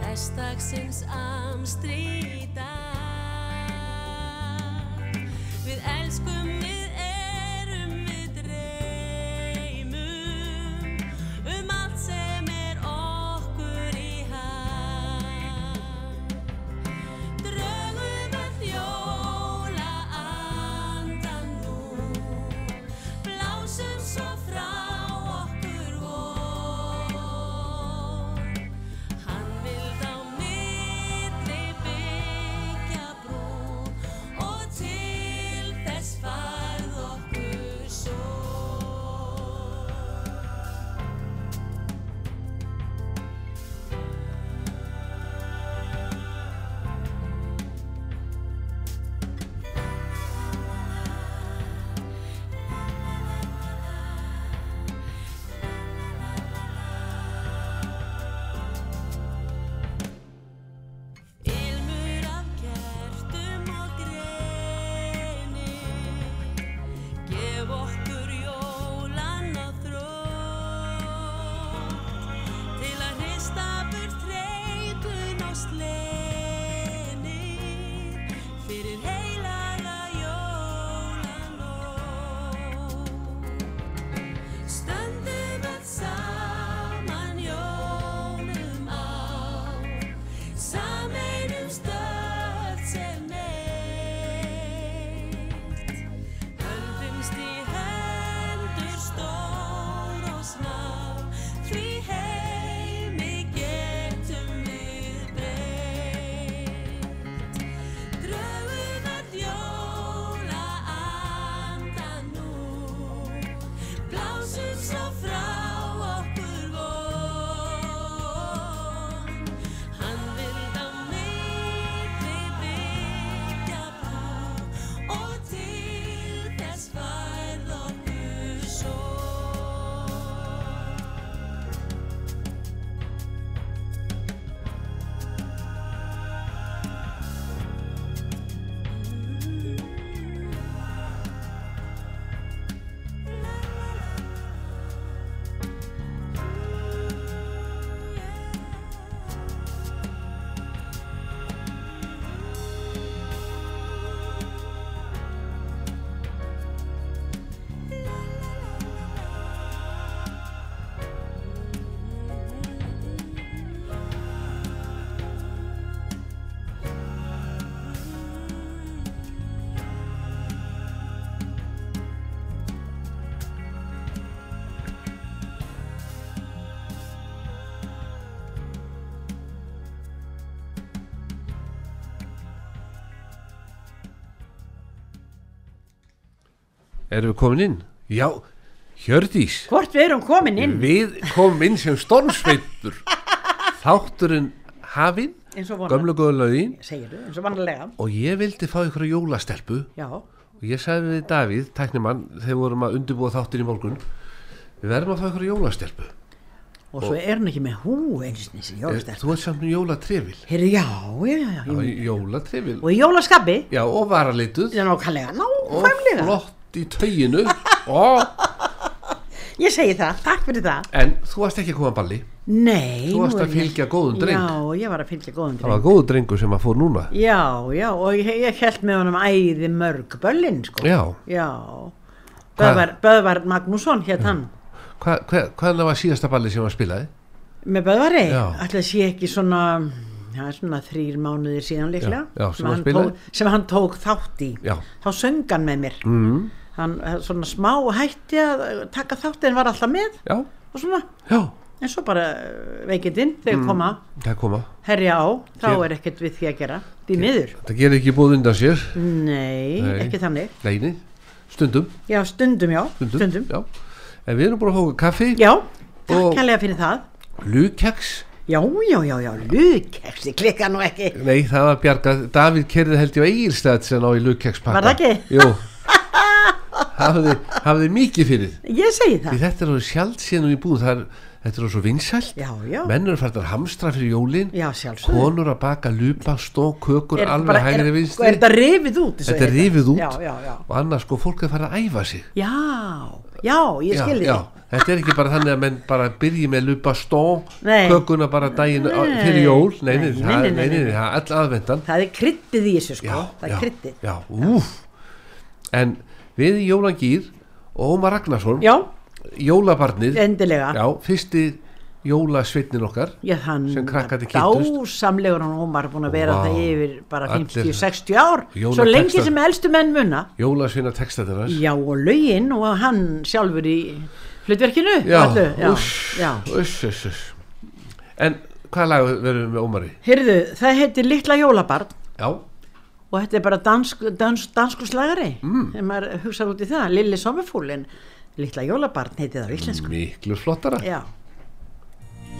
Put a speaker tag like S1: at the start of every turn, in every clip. S1: hverstagsins amstri í dag. Við elskum, við erum, við dreymum um allt sem er okkur í hag. Draugum að jóla andan nú Blásum svo frá okkur vor Hann vild á milli byggja brú Og til þess farð okkur svo Ilmur af kertum og greini Gef okkur jólan á þrótt Til að hrista burt treykun og sleni Fyrir heilaga jólanótt Stöndum að saman jólum á Sameinum stöð sem eitt Höldumst í hendur stór og smá Því heimi getum við breytt Draugum að jóla anda nú Blásum svo frá okkur von Hann vild á milli byggja brú Og til þess færð okkur svo
S2: Erum við komin inn? Já, Hjördís
S3: Hvort við erum komin inn
S2: Við komum inn sem stormsveipur Þátturinn hafinn
S3: eins og vonlega,
S2: Gömlu góðu lögin
S3: segirðu, eins og vonlega
S2: Og ég vildi fá ykkur jólastelpu
S3: Já,
S2: Og ég sagði við Davíð, tæknimann Þegar við vorum að undirbúa þáttin í morgun Við verðum að fá ykkur jólastelpu
S3: og svo er hann ekki með hú eins og þessi
S2: Eh,
S3: jólastelp
S2: Þú ert samt með jólatrefil
S3: Eh, Heyrðu, já, já, já, já, já.
S2: Jólatrefil
S3: Og í jólaskapi,
S2: Já, og varalituð
S3: þetta er nákvæmlega,
S2: Og
S3: nákvæmlega
S2: flott í tauginu og,
S3: Ég segi það, takk fyrir það
S2: En þú varst ekki að koma að balli
S3: Nei
S2: Þú varst
S3: nú er
S2: að
S3: ég-
S2: fylgja góðum dreng.
S3: Já, ég var að fylgja góðum
S2: Það var
S3: dreng
S2: góðu drengur sem að fór núna
S3: Já, já, og ég, ég held með honum æði mörg böllin, sko
S2: Já, Hvað?
S3: Böðvar, Böðvar Magnússon hétt hann
S2: hva, hva, hvað var síðasta balli sem að spilaði?
S3: Með Böðvari,
S2: Já.
S3: alltaf sé ekki svona Já, svona þrýr mánuðir síðan líklega
S2: Já, já, sem hann
S3: hann
S2: spilaði.
S3: tók, sem hann tók þátt í
S2: Já.
S3: þá söng hann með mér
S2: Mm.
S3: hann eh, svona smá hætti að eh, taka þátt en var alltaf með
S2: Já,
S3: og svona,
S2: já,
S3: en svo bara eh, veikindin þegar koma
S2: það koma
S3: herja á, þá
S2: Mm. Hér-
S3: er ekkert við því að gera því miður,
S2: Það gerir ekki búð undan sér
S3: nei,
S2: Nei.
S3: ekki þannig
S2: Neini, stundum,
S3: já, stundum já,
S2: stundum,
S3: stundum.
S2: Já. En við erum búin að fá okkur kaffi,
S3: já, takk
S2: Og-
S3: hérlega fyrir það
S2: lukeks
S3: já, já, já, já, lukeks ég klikka nú ekki
S2: Nei, það var bjargað, Davíð kerði held ég á eigilstæð sem á í lukekspakka
S3: Var það ekki?
S2: Jú Hafði, hafði mikið fyrir
S3: ég segi
S2: Því
S3: það
S2: þetta er alveg sjálfsýnum í búð Það er, þetta er orðið svo vinsælt
S3: Já, já.
S2: menn eru fært að hamstra fyrir jólin
S3: Já, sjálfsögðu.
S2: konur að baka lupa, stó, kökur
S3: Er þetta
S2: alveg
S3: bara-
S2: hægri
S3: er-
S2: vinstri
S3: Er þetta rifið út? eins og
S2: þetta er
S3: heitir?
S2: rifið út
S3: Já, já, já.
S2: og annars sko fólk er farið að æfa sig
S3: Já, já, ég
S2: Já,
S3: skilði
S2: já,
S3: þig.
S2: þetta er ekki bara þannig að menn bara byrji með lupa stó
S3: Nei.
S2: kökuna bara daginn á-
S3: Nei.
S2: fyrir jól nei, nei,
S3: Nei,
S2: það-
S3: nei, nei,
S2: nei,
S3: nei,
S2: nei,
S3: nei.
S2: það er all aðvendan
S3: Það er kryttið í þessu sko. það er
S2: já,
S3: kryttið.
S2: já, úf en við í Jólangýr og Ómar Ragnarsson
S3: Já,
S2: jólabarnið,
S3: endilega.
S2: já, fyrsti jólasveitnin okkar
S3: Já, hann
S2: Sem krakkarnir kynntust.
S3: dásamlegur hann Ómar búin að vera
S2: Vá.
S3: það yfir bara
S2: Allir-
S3: 50-60 ár svo
S2: Jólatextar.
S3: lengi sem elstu menn munna
S2: jólasveina textatinnar
S3: já og lögin og hann sjálfur í hlutverkinu og
S2: já,
S3: öllu, já,
S2: uss,
S3: já.
S2: uss, uss, uss en hvað lag verðum við með Ómari?
S3: Heyrðu, það heitir Litla Jólabarn
S2: já,
S3: og þetta er bara dansk, dans, danskuslagari mm. þegar maður hugsaði út í það Lilli Sommerfúlin, Litla Jólabarn heiti það á íslensku
S2: miklu flottara
S3: já,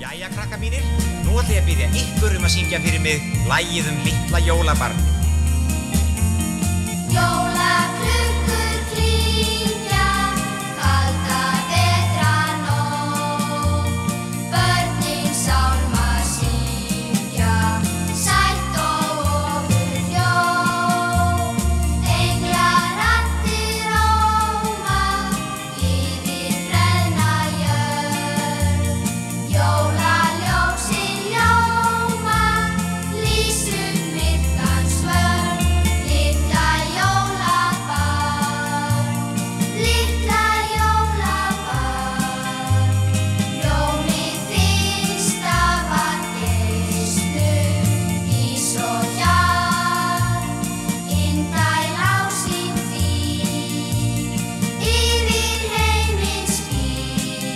S4: Jæja, krakka mínir, nú ætlum ég að byrja ykkur um að syngja fyrir mig Lægið um litla jólabarn
S5: Jólaklukkur klingja, kalda vetranótt. Börnin sálma syngja, sætt og ofurljó. Englaraddir óma, yfir brenna jörð. Jólaljósin ljóma, lísum myrkans vörn. Litla jólabarn, litla jólabarn. Ljómið er finnsta var geistum ís og hjarn. Indæl á sín fýr, yfir heiminn skýr.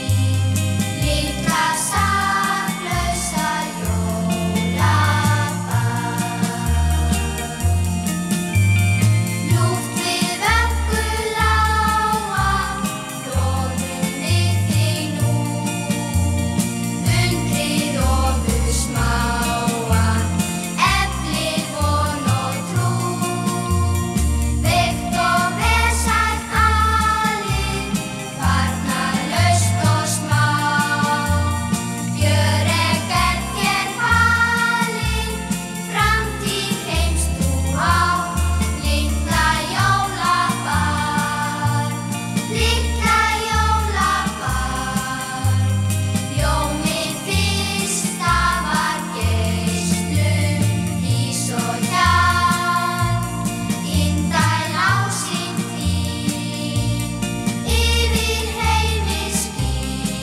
S5: Litla saklausa jólabarn. Ljúft við vöggu lága, glóðunni þig nú. Undrið og busmáan, eflir von og trú. Veikt og vesælt alið, varnarlaust og smá. Björeg er þér falin, framtíð heimst þú á. Litla jólabarn, litla jólabarn. Ljómið fyrsta var geislum ís og hjarn. Indæl á sín fýr, yfir heiminn skín.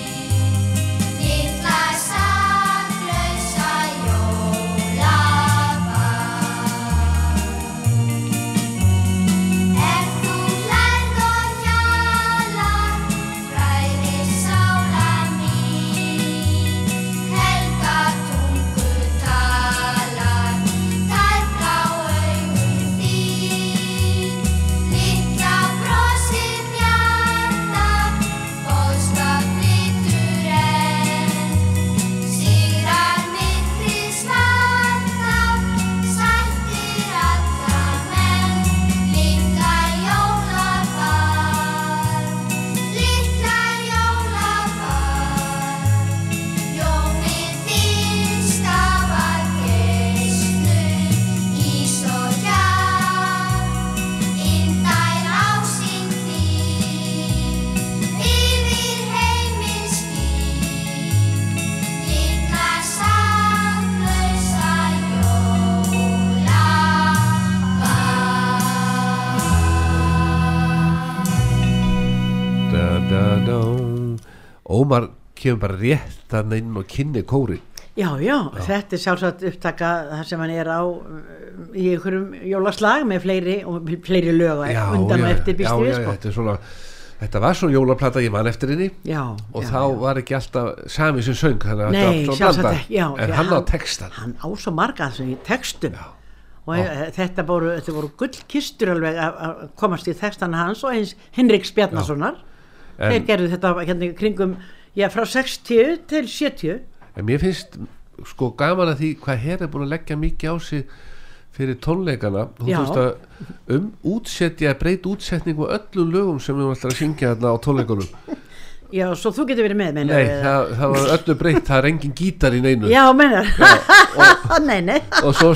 S5: Litla saklausa jólabarn. Er þú lærð og hjalar, fræðir sála mín. Helga tungu talar, þær blá augun þín. Litla brosið hjarta, boðskap flytur enn. Sigrar miklið svarta, sættir allra menn. Litla jólabarn, litla jólabarn. Ljómið fyrsta var geistum ís og hjarn. Indæl á sín fýr, yfir heiminn skýr. Litla saklausa jólabarn.
S2: da, da, da. Ómar kemur bara rétt þarna inn og kynni kóri
S3: já, já, þetta er sjálfsagt upptaka það sem hann er á um, í einhverjum jólaslag með fleiri og fleiri lög á undan og eftir býst
S2: já,
S3: ég við
S2: já,
S3: sko
S2: þetta, er svona, þetta var svona jólaplata ég man eftir henni
S3: já,
S2: og
S3: já,
S2: þá
S3: já.
S2: var ekki alltaf sami sem söng þannig að
S3: Nei,
S2: þetta var
S3: sjálfsagt
S2: svona
S3: ekki, já,
S2: blanda en
S3: já,
S2: hann á
S3: hann-
S2: textan
S3: hann á svo marga þessu í textum
S2: Já.
S3: og e, þetta voru, þetta voru gullkistur alveg að að komast í textana hans og eins Henrik Spjarnasonar
S2: En-
S3: þeir gerðu þetta hérna í kringum já, frá 60 til 70
S2: en mér finnst sko gaman að því hvað hér er búin að leggja mikið á sig fyrir tónleikana þú
S3: Já.
S2: veist að um útsetja breyta útsetningu á öllum lögum sem við erum alltaf að syngja þarna á tónleikunum
S3: Já, svo þú getur verið með, meina
S2: Nei, það, það var öllu breytt, það er engin gítar í neinu
S3: Já, meinar Nei, nei
S2: og svo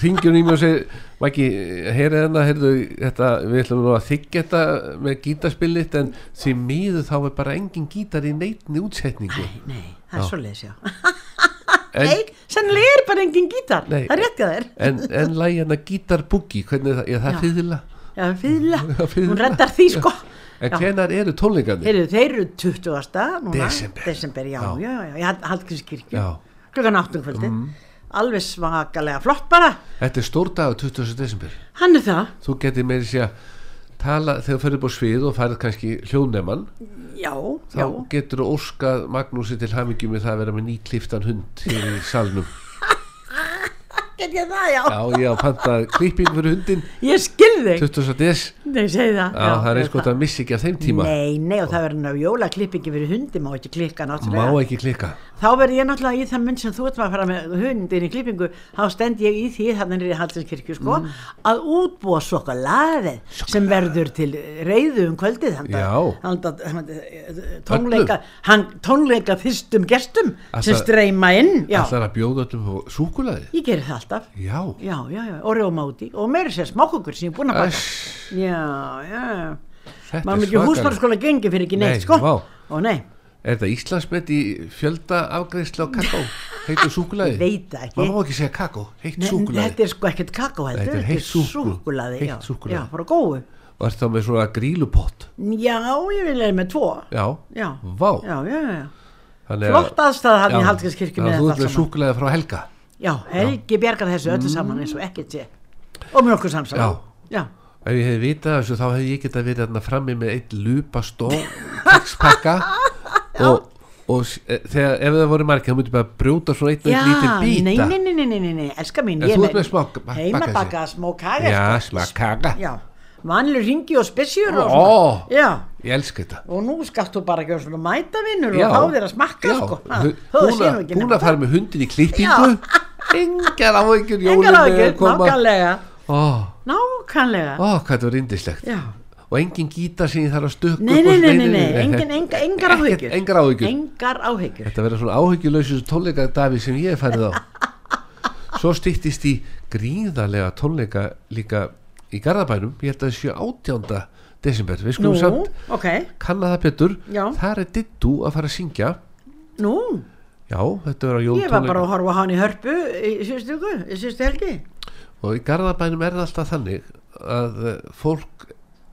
S2: ringjum í mig og segir Maggi, heyrið hennar, heyrðu þetta, við ætlum nú að þykja þetta með gítarspillit en því miður þá er bara engin gítar í neitni útsetningu
S3: Nei,
S2: Já.
S3: það er svoleiðis, já
S2: en,
S3: Nei, sennilega er bara engin gítar
S2: Nei.
S3: Það er rétt að þér
S2: en, en lægi hennar gítarbúki hvernig er það, er það
S3: Já.
S2: fyrðila
S3: Já, fýðla,
S2: Fiðla.
S3: hún reddar því sko
S2: en
S3: Já.
S2: hvenar eru tónleikarnir?
S3: Heyrðu, þeir eru 20. núna
S2: Desember.
S3: Desember, já,
S2: Já.
S3: já, já, já, Hallgrímskirkju
S2: Já. Mm.
S3: Klukkan áttum kvöldi Alveg svakalega flott bara
S2: Þetta er stór dag 20. desember
S3: Hann er það,
S2: þú getur með þessi að tala þegar þú fyrir upp á svið og færið kannski hljóðneman
S3: já,
S2: þá
S3: já
S2: getur þú óskað Magnúsi til hamingi með það að vera með nýkliftan hund hér í salnum
S3: Get ég það, já,
S2: Já, ég á pantað klipping fyrir hundin
S3: Ég skil þig
S2: 20. des
S3: Nei, segi það
S2: Já, það er eins gott
S3: það.
S2: að missi ekki af þeim tíma
S3: Nei, nei, og það verður ná jólaklippingi fyrir hundi Má ekki klikka
S2: Má
S3: náttúrulega
S2: ekki klika
S3: Þá verður ég náttúrulega í þann mynd sem þú ert að fara með hundin í klippingu Þá stend ég í því, þannig er í Hallsinskirkju sko
S2: Mm.
S3: Að útbúa sokolaðið Sem verður til reyðu um kvöldið Handa,
S2: Já.
S3: handa, handa, eh, tónleika, hann, tónleika fyrstum gestum Sem
S2: Ætlar-
S3: streyma inn Já,
S2: Ætlar að bjóða öllum súkulaði
S3: ég gerir það alltaf
S2: Já,
S3: Já, já, já, og rjóma út í Og meira sér smákukur sem ég er búin að baka
S2: Æss,
S3: Já, já, já
S2: þetta
S3: maður
S2: er
S3: mikið
S2: svakalegt
S3: húsmannskóla gengi fyrir ekki neitt
S2: Nei,
S3: sko
S2: vá.
S3: og nei,
S2: Er þetta Íslandsmet í fjölda afgreðsla á kakó? Heitur súkulaði?
S3: Veit það ekki.
S2: Má ekki segja kakó, heitt
S3: nei þetta
S2: súkulaði
S3: er sko ekkert kakó heldur,
S2: Þetta er heitt súkkulaði.
S3: súkkulaði,
S2: Heitt súkkulaði.
S3: já, já, frá góðu
S2: Og ert þá með svona grílupott
S3: já, ég vil er með tvo
S2: Já,
S3: já,
S2: vá
S3: já, já, já.
S2: Þannig að-
S3: flott aðstæða hann
S2: Já.
S3: í Hallgrímskirkju
S2: Þannig
S3: með
S2: að Þú ert
S3: þetta allt
S2: með
S3: saman
S2: súkulaði frá Helga
S3: já, Helgi bjargar þessu öllu saman eins og ekkert sé og með okkur samsam
S2: Já.
S3: já,
S2: Ef ég hefði vitað þessu þá hefði ég getað verið þarna frammi með eitt lúpastó kekspakka og, og s- e, þegar, ef það voru margir þá myndi bara brjóta svona eitt og
S3: já
S2: eitt lítið
S3: nei,
S2: býta
S3: nei, nei, nei, nei, nei, nei, elska mín
S2: En
S3: ég
S2: þú ert með smá- bak-
S3: heimabaka
S2: bakað
S3: smá kaga
S2: Já,
S3: sko.
S2: smakkaga
S3: já, vanlu ringi og spesjur
S2: Ó.
S3: og svona já
S2: Ég elska þetta
S3: og nú skalt þú bara gera svona mætavinnur
S2: Já.
S3: og fá þér að smakka
S2: Já.
S3: sko Ha,
S2: Hu-
S3: þó það sé
S2: Búin að-
S3: nú ekki
S2: búin
S3: neitt.
S2: að fara með hundin í klippingu Engar áhyggjur jólin
S3: engar á
S2: eru
S3: ekki,
S2: að koma.
S3: nákvæmlega
S2: Ó,
S3: nákvæmlega
S2: ó, hvað þetta var indislegt
S3: já
S2: Og engin gítar sem ég þarf að stökku
S3: Nei,
S2: upp á
S3: nei, nei,
S2: sviðinu.
S3: nei, nei, engin,
S2: þetta-
S3: enga, engar
S2: ekkert-
S3: áhyggjur
S2: Engar áhyggjur
S3: Engar áhyggjur
S2: Þetta verður svona áhyggjulausus tónleika Davi sem ég hef farið á Svo stýttist í gríðarlega tónleika líka í Garðabænum ég held að sé 18. desember við
S3: Nú,
S2: skulum samt
S3: ok,
S2: kanna það betur
S3: Já.
S2: þar er Dittu að fara að syngja
S3: nú
S2: Já, þetta verður á
S3: Ég var bara
S2: jóltónleika
S3: að horfa á hann í hörpu í síðustu ykkur, í síðustu helgi
S2: og í Garðabænum er það alltaf þannig að eh, fólk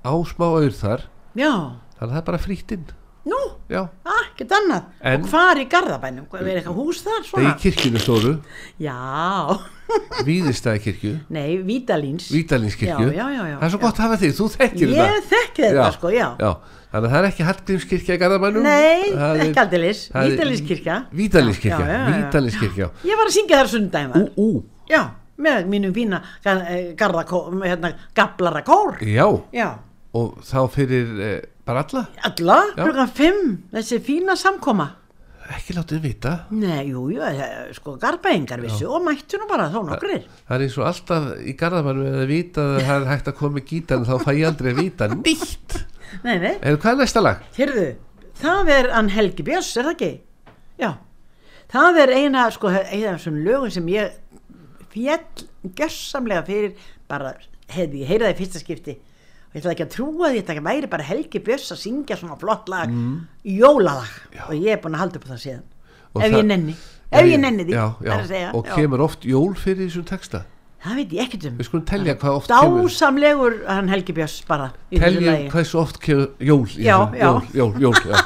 S2: á smá auður þar
S3: Já,
S2: þannig að það er bara frýttinn
S3: nú,
S2: Já,
S3: ekkert annað
S2: En-
S3: Og hvar í Garðabænum, Hvað- er eitthvað hús þar
S2: það er
S3: svona?
S2: í kirkjunu stóru
S3: Já,
S2: Víðistæðkirkju,
S3: nei, Vítalíns
S2: Vídalinskirkju
S3: Já, já, já, já.
S2: Það er svo gott að hafa þig, þú þekkir þetta
S3: Ég þekki þetta sko, já
S2: Þannig að það er ekki Hallgrímskirkja í Garðabænum
S3: Nei,
S2: Það er-
S3: ekki aldeilis,
S2: það er-
S3: Vítalinskirkja Já,
S2: Vídalinskirkja,
S3: já, já, já.
S2: Vídalinskirkja
S3: Ég var að syngja þar sundaginn
S2: Ú,
S3: var
S2: ú,
S3: Já, með mínum fína gar, eh, garðakó, með hérna, gablara kór
S2: já
S3: Já,
S2: Og þá fyrir eh, bara alla
S3: alla,
S2: Já.
S3: klukkan fimm þessi fína samkoma
S2: Ekki látið vita
S3: Nei, jú, jú, eh, sko garbaðingar vissu og mættu nú bara þó nokkrir
S2: Það er eins og alltaf í Garðabænum er að vita að það er hægt að koma í gítan þá fæ ég aldrei að vita nýtt
S3: Nei, nei,
S2: En hvað er næsta lag?
S3: hérðu, það er hann Helgi Björns, er það ekki? Já, það er eina, sko, eina af þessum lögum sem ég fjall gjörsamlega fyrir bara, hefði, ég heyrði það í fyrsta skipti og ég ætlaði ekki að trúa því að þetta væri bara Helgi Björns að syngja svona flott lag jólalag og ég er búin að halda upp á það síðan
S2: Mm. Og
S3: ef
S2: það-
S3: ég nenni, ef ég nenni því
S2: já, já,
S3: það er að segja,
S2: Og
S3: já.
S2: kemur oft jól fyrir í þessum texta
S3: það veit ég ekkert um
S2: Við skulum telja hvað oft kemur
S3: dásamlegur hann Helgi Björns bara í þessu
S2: Telja
S3: lagi.
S2: hversu oft kemur jól í
S3: Já,
S2: þessu-
S3: já.
S2: Jól, jól, jól, já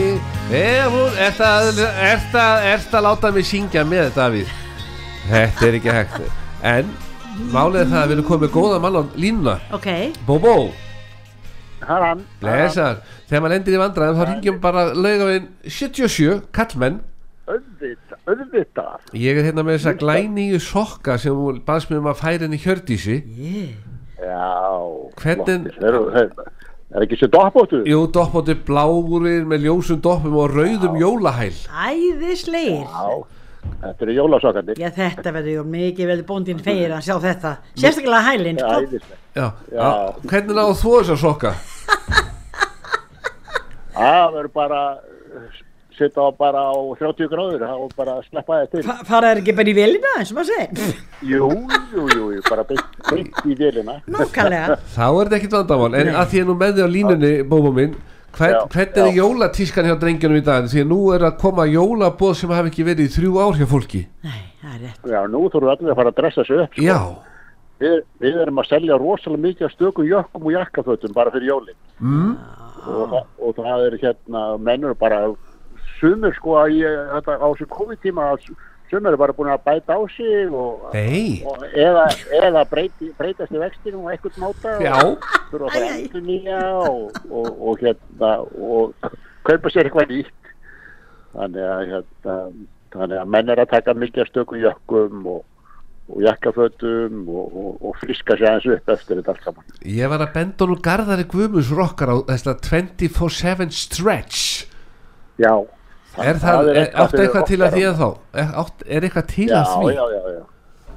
S2: er það er það er það að láta mig syngja með Davíð þetta er ekki hægt en málið er það að við erum komið með góða mann á línuna
S3: ok,
S2: Bóbó,
S6: Hallan.
S2: blessar þegar maður lendir í vandræðum þá ringjum bara laugavinn 77 kallmenn
S6: Auðvitað, auðvitað.
S2: ég er hérna með þessa glænýju sokka sem hún baðst mér um að færa henni Hjördísi
S6: Já.
S2: Hvernig-
S6: flottir. Eru, er, er ekki sér doppóttu?
S2: jú, doppóti bláurir með ljósum doppum og rauðum jólahæl
S3: æðisleir
S6: Já. Þetta eru jólasokkarnir.
S3: já þetta verður jú mikið verður bóndin feir að sjá þetta sérstaklega hælinn sko.
S6: æðislegt.
S2: já, já. hvernig náðu þú þessa sokka
S6: Það verður bara uh, setja á bara á 30 gráður og bara sleppa það til.
S3: Fa- fara er ekki bara í velina eins og maður segir
S6: Jú, jú, jú, jú, bara beint, beint í vélina.
S3: nákvæmlega
S2: þá er þetta ekkit vandamál en að því að nú með þig á línunni, Bóbó minn hvern,
S6: Já,
S2: hvernig er
S6: já.
S2: jólatískan hjá drengjunum í dag því að nú er að koma jólabóð sem hafi ekki verið í þrjú ár hjá fólki
S3: nei, það er rétt
S6: Já, nú þurfum við allir að fara að dressa sig upp.
S2: já,
S6: Við, við erum að selja rosalega mikið af stökum jökkum og jakkafötum bara fyrir jólinn. Mm. Og, það- og það er hérna, mennur bara, sumir sko að ég, þetta, á þessu COVID-tíma, að s- sumir eru bara búin að bæta á sig og,
S2: nei
S6: og eða, eða breyti, breytast í vextinum og eitthvað máta
S2: já,
S6: og þurfa að fara endur nýja og, og, og hérna, og kaupa sér eitthvað nýtt. Þannig að, hérna, þannig að menn er að taka mikið af stökum jökkum og og jakkafötum og, og, og friska sér aðeins upp eftir þetta allt saman.
S2: ég var að benda honum Garðari Guðmunds rokkar á þessa 24-7 stretch
S6: Já.
S2: er það, er, áttu
S6: fyrir
S2: eitthvað til
S6: okkar
S2: að því
S6: á-
S2: að þá er, átt, er eitthvað til
S6: Já,
S2: að því
S6: já, já, já.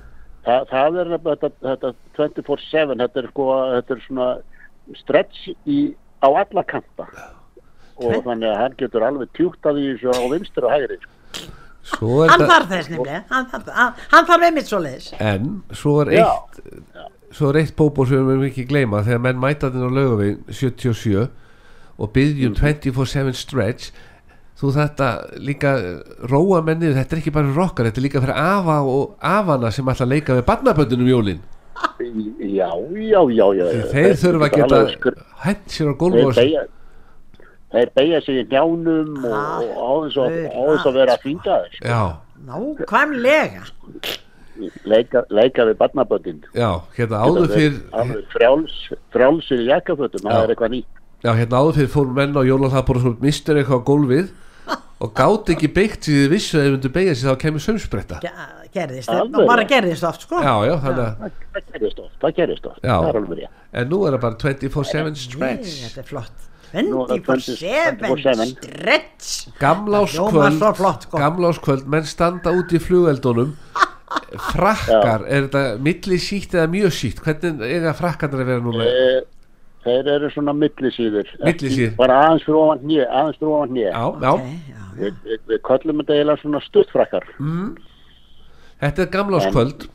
S6: Þa, það er nefnilega þetta, þetta 24-7, þetta er sko, þetta er svona stretch í, á alla kanta og þannig að hann getur alveg tjúktað í þessu á vinstri og hægri. sko.
S2: svo er
S3: hann
S2: það
S3: þarf þess nefnilega hann þarf, hann- hann þarf einmitt svo leiðis
S2: en svo er
S6: Já.
S2: eitt svo er eitt bóbó sem við erum ekki gleyma þegar menn mæta þinn á laugavinn 77 og
S6: Mhm.
S2: byggjum 24-7 stretch þú þetta líka eh, róa mennið, þetta er ekki bara rockar þetta er líka fyrir afa og afana sem ætla að leika við barnaböndunum jólin
S6: Í- Já, já, já, já. já.
S2: þeir þurfa að
S6: geta alveg
S2: geta
S6: skr-
S2: hætt sér á
S6: Þeir
S2: gólf
S6: beigja, þeir beigja sig í njánum og, og á þess að, á þess að vera að fýnda þess.
S2: já,
S3: nákvæmlega
S6: Leika, leika við barnaböndin.
S2: já, hérna áður fyrr
S6: Alveg frjáls, frjálsir í jakkafötum,
S2: Já.
S6: það er eitthvað nýtt.
S2: já, hérna áður fyrr fórum menn á jólaðabor og mistur eitthvað á gólfið og gátt ekki byggt því þið vissu að þið myndu beigja sér þá kemur sömsbreyta já,
S3: Ge- gerðist,
S6: Alveg.
S3: bara gerðist oft sko
S2: já, þannig að
S6: Það það gerist oft, það gerist oft,
S2: Já.
S6: það er alveg rétt.
S2: En nú er það bara 24-7
S3: Nei,
S2: stretch
S3: þetta er flott
S6: Nú er það
S3: 24-7
S6: 24/7.
S3: stretch Það
S2: Gamláskvöld
S3: hljómar svo flott, sko.
S2: Gamláskvöld, menn standa út í flugeldunum Frakkar, er þetta milli sítt eða mjög sítt? Hvernig eiga frakkarnir að vera núna?
S6: Eh, Þeir eru svona millisýður.
S2: Millisíður.
S6: Bara aðeins fyrir ofan hnið, aðeins fyrir ofan hnið.
S2: Já, já,
S3: Nei, já.
S6: Við, við, við köllum þetta eiginlega svona stuttfrakkar.
S2: þetta er gamláskvöld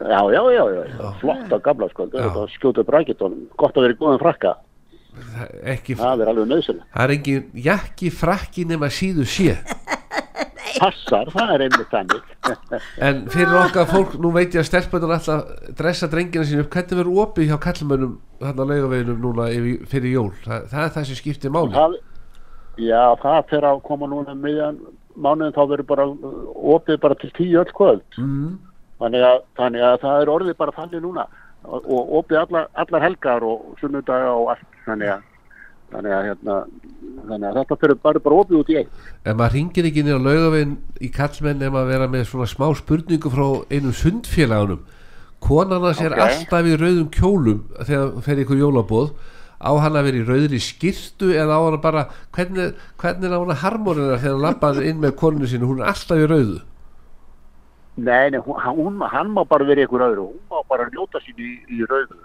S6: Já, já, já, já, já. Flott á gamla sko. Þetta skjóta upp rækjutónum. Gott að vera í góðum frakka.
S2: ekki,
S6: Það er alveg nöðsynlegt.
S2: Það er engin jakki frakki nema síðu sé
S6: Passar, það er einmitt þannig.
S2: En fyrir okkar fólk, nú veit ég að stelpunar alltaf dressa drengina sín upp Hvernig verður opið hjá kallmönnum hann á laugaveginum núna yfir, fyrir jól? Það, það er það sem skiptir máli
S6: það, já, það fyrir að koma núna um miðjan mánuðin þá verður bara uh, opið bara til tíu öll kvöld. Mm. Þannig, að, þannig að það er orðið bara þannig núna og, og opið allar, allar helgar og sunnudaga og allt. Þannig að, þannig að, hérna, þannig að þetta fyrir bara, bara opið út í eitt.
S2: En maður ringir ekki niður á laugavinn í kallmenn ef maður vera með svona smá spurningu frá einum sundfélagunum. Konan hans er
S6: Ok.
S2: alltaf í rauðum kjólum þegar hún fer í ykkur jólabóð. Á hann að vera í rauðri skirtu eða á hann bara, hvernig, hvernig er á hann að harmonina þegar hann lappar inn með koninu sínu, hún er alltaf í rauðu.
S6: Nei, nei hún, hún, hann má bara vera í ykkur öðru. Hún má bara njóta sín í, í rauðu.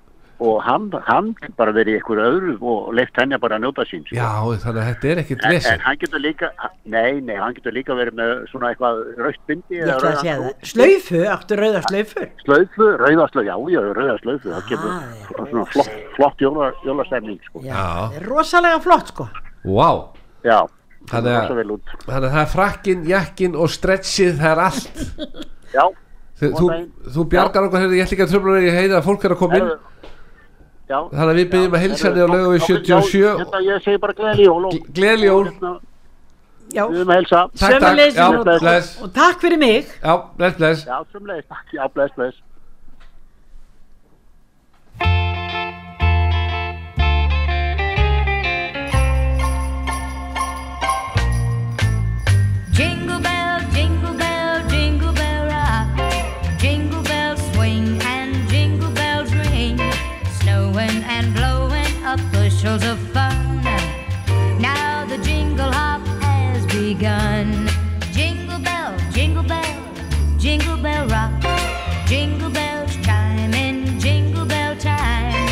S6: Og hann, hann getur bara verið í ykkur öðru og leift henni að bara njóta sín. sko.
S2: Já, þannig að þetta er ekkert
S6: En, en
S2: vesið.
S6: hann getur líka, nei, nei, hann getur líka verið með svona eitthvað raustbindi
S3: ég ætla að segja það slaufu, áttu rauða slaufu
S6: Slaufu, rauðaslaufu, já, já, rauðaslaufu, það kemur
S3: Ah, já.
S6: svona flott, flott jóla, jólastemning, sko.
S3: já,
S6: Já,
S2: Já.
S3: það er rosalega flott sko
S2: Vá, wow.
S6: já
S2: Þannig að-
S6: það er vel út.
S2: þannig að það er frakkin, jakkin og stretchið, það er allt.
S6: Já,
S2: Þú, þú, þú bjargar okkur, heyrðu, ég ætla ekki að tröfla ég heiða að fólk er að koma inn.
S6: herðu, já.
S2: Þannig að við byggjum að heilsa henni á Laugavegi
S6: Já,
S2: 77
S6: Hérna, ég segi bara gleðli jól og...
S2: Gleðileg jól.
S6: og hérna,
S3: já,
S6: við erum að helsa
S2: Takk, takk.
S3: sömuleiðis
S2: Já,
S3: og, og,
S2: bless.
S3: og takk fyrir mig
S2: Já, bless, bless
S6: Já, sömulegis, takk, já, bless, bless
S7: Jingle bell, jingle bell, jingle bell rock. Jingle bells swing and jingle bells ring. Snowing and blowing up bushels of fun. Now the jingle hop has begun. Jingle bell, jingle bell, jingle bell rock. Jingle bells chime in jingle bell time.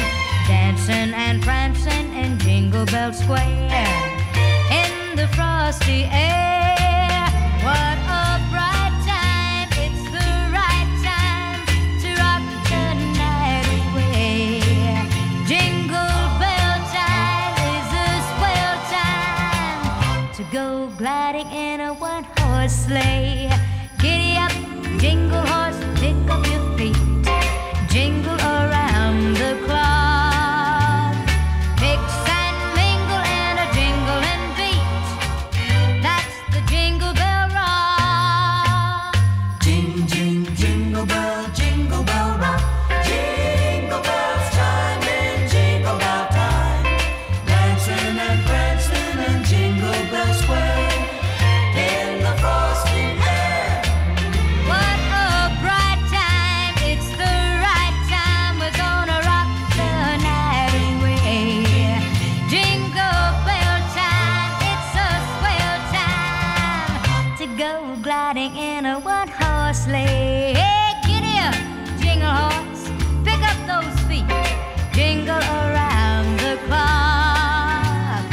S7: Dancing and prancing in Jingle Bell Square in the frosty air. What a bright time! It's the right time to rock the night away. Jingle bell time is a swell time to go gliding in a one horse sleigh. Giddy up, jingle horse, pick up your feet. Jingle around the clock. Mix and mingle in a jingle and beat. That's the jingle bell rock.
S8: Jing, jing, jingle bell, jingle bell rock. Jingle bells chime in jingle bell time. Dancing and prancing in Jingle Bell Square. In the frosty air.
S7: What a bright time! It's the right time. We're gonna rock the night away. Jingle bell time! It's a swell time to go gliding in a one-horse sleigh. Hey, giddy up, jingle horse! Pick up those feet, jingle around the clock,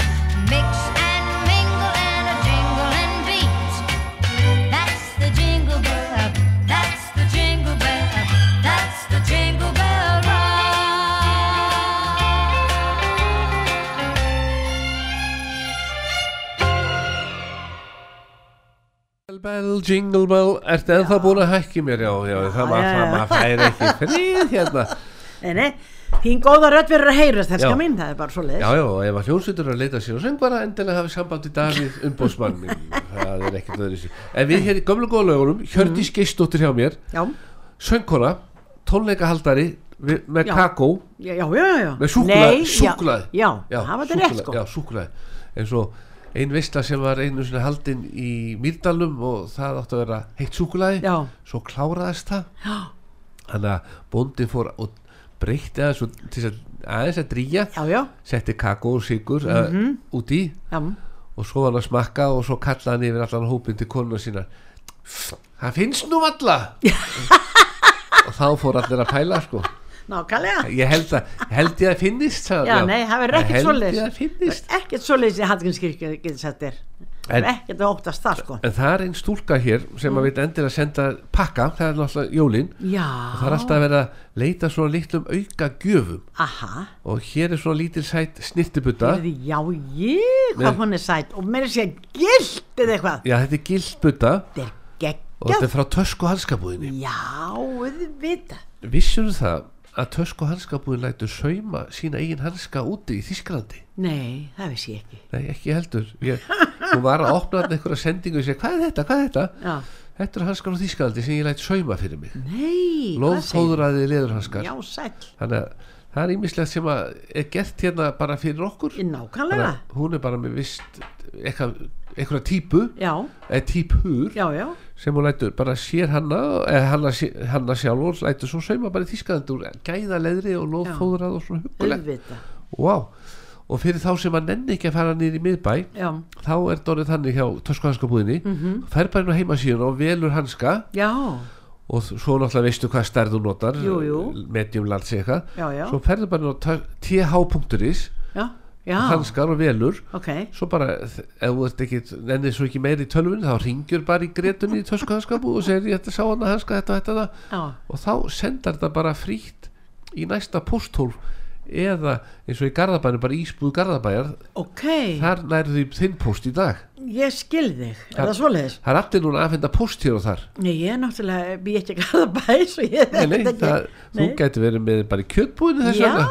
S7: mix and mingle in a jingle and beat. That's the jingle bell. That's the jingle bell. That's the jingle bell rock.
S2: Jingle bell, jingle bell Ertu ennþá búin að hækki mér, já, já Það var
S3: já,
S2: það,
S3: já.
S2: maður færi ekki frið hérna
S3: Nei, nei, þín góða rödd verður að heyra
S2: Já.
S3: þerska mín, það er bara svo leiðis
S2: Já, já, og ef að hljónsveitur er að leita sér og söngvara endilega hafi samband í dag við umbóðsmann minn, það er ekkert öðru sér En við hér í gömlu góða lögunum, Hjördís
S3: Mm.
S2: Geistóttir hjá mér
S3: já,
S2: Söngkona, tónleikahaldari við- með
S3: Já.
S2: kakó
S3: já, já, já, já.
S2: Með súkkulaði-
S3: Nei, já,
S2: súkkulaði.
S3: Já, hafa þetta rétt
S2: súkkulaði-
S3: sko
S2: Já, súkkulaði eins og ein veistla sem var einu sinni haldin í Mýrdalum og það átti að vera heitt súkkulaði
S3: Já.
S2: svo kláraðist það já. þannig að bóndin fór og breytti aðeins og til þess að aðeins að drýja
S3: Já, já,
S2: setti kakó og sigur mm -hmm. út í
S3: já,
S2: og svo var hann að smakka og svo kallaði hann yfir allan hópin til konuna sína það finnst nú alla og þá fór allir að pæla sko
S3: nákvæmlega
S2: ég held að, held ég að finnist sagði
S3: Já,
S2: hann,
S3: nei, það verður ekkert
S2: held
S3: svoleiðis
S2: ég að finnist
S3: Ekkert svoleiðis í Hallgrímskirkju getur sett þér
S2: En-
S3: Ekkert að óttast það sko
S2: En það er einn stúlka hér sem
S3: Mm.
S2: að veit endilega að senda pakka, það er náttúrulega jólin
S3: Já,
S2: og það er alltaf að vera að leita svona litlum auka gjöfum
S3: aha
S2: og hér er svona lítil sætt snirtibutta
S3: Heyrðu, Já, ég, hvað
S2: Nei.
S3: hún er sætt og meira sé gilt eða eitthvað
S2: Já, þetta er gildbutta
S3: Þetta
S2: og
S3: er
S2: þetta
S3: geggjað
S2: er frá tösku hanskabúðinni
S3: Já, auðvitað
S2: Vissur það að tösku hanskabúðin lætur sauma sína eigin hanska úti í Þísklandi?
S3: Nei, það vissi ég ekki
S2: Nei, ekki heldur ég, Hún var að opna hann einhverja sendingu og segja, hvað er þetta, hvað er þetta?
S3: Já,
S2: Þetta er hanskar á Þísklandi sem ég læt sauma fyrir mig
S3: nei, hvað segir
S2: Lóðfóðraði leðurhanskar
S3: Já, sæll,
S2: þannig að það er ímislegt sem að er gert hérna bara fyrir okkur
S3: Í
S2: Þannig
S3: nákvæmlega
S2: að hún er bara með vist eitthvað, eitthvað típu
S3: Já,
S2: eða típur
S3: já, já
S2: sem hún lætur bara sér hanna eða hanna, sé- hanna sjálfur lætur svo sauma bara í þýskaðandi úr gæða leðri og lóðfóðrað og svona huggulegt
S3: auðvitað
S2: wow. og fyrir þá sem að nenni ekki að fara nýri í miðbæ
S3: Já,
S2: þá er Dórið þannig hjá töskuhanskabúðinni mm
S3: Mhm.
S2: -hmm. fer bara inn á heimasíðun og velur hanska
S3: já,
S2: og þ- svo náttúrulega veistu hvað stærð þú notar
S3: Jú, jú.
S2: medium large eitthvað
S3: Já, já.
S2: svo ferðu bara inn á th.is
S3: já, já
S2: hanskar og velur
S3: Ok,
S2: svo bara, þ- ef þú ert ekki ennið svo ekki meiri í tölvun, þá ringjur bara í gretunni í tösku hanskapu og segir ég ætla að sá hana hanska þetta og þetta, og þetta
S3: já,
S2: og þá sendar þetta bara frítt í næsta pósthólf eða eins og í Garðabæni bara ísbúð Garðabæjar,
S3: ok
S2: þar nærðu því þinn póst í dag,
S3: Ég skil þig, er
S2: Það-
S3: það svoleiðis?
S2: það er allir núna að finna póst hér og þar
S3: Nei, ég er náttúrulega, býð ekki að garða bæ Svo ég
S2: Nei, nei,
S3: þetta ekki.
S2: það, þú
S3: Nei.
S2: gæti verið með bara í kjötbúinu þess
S3: Já,
S2: vegna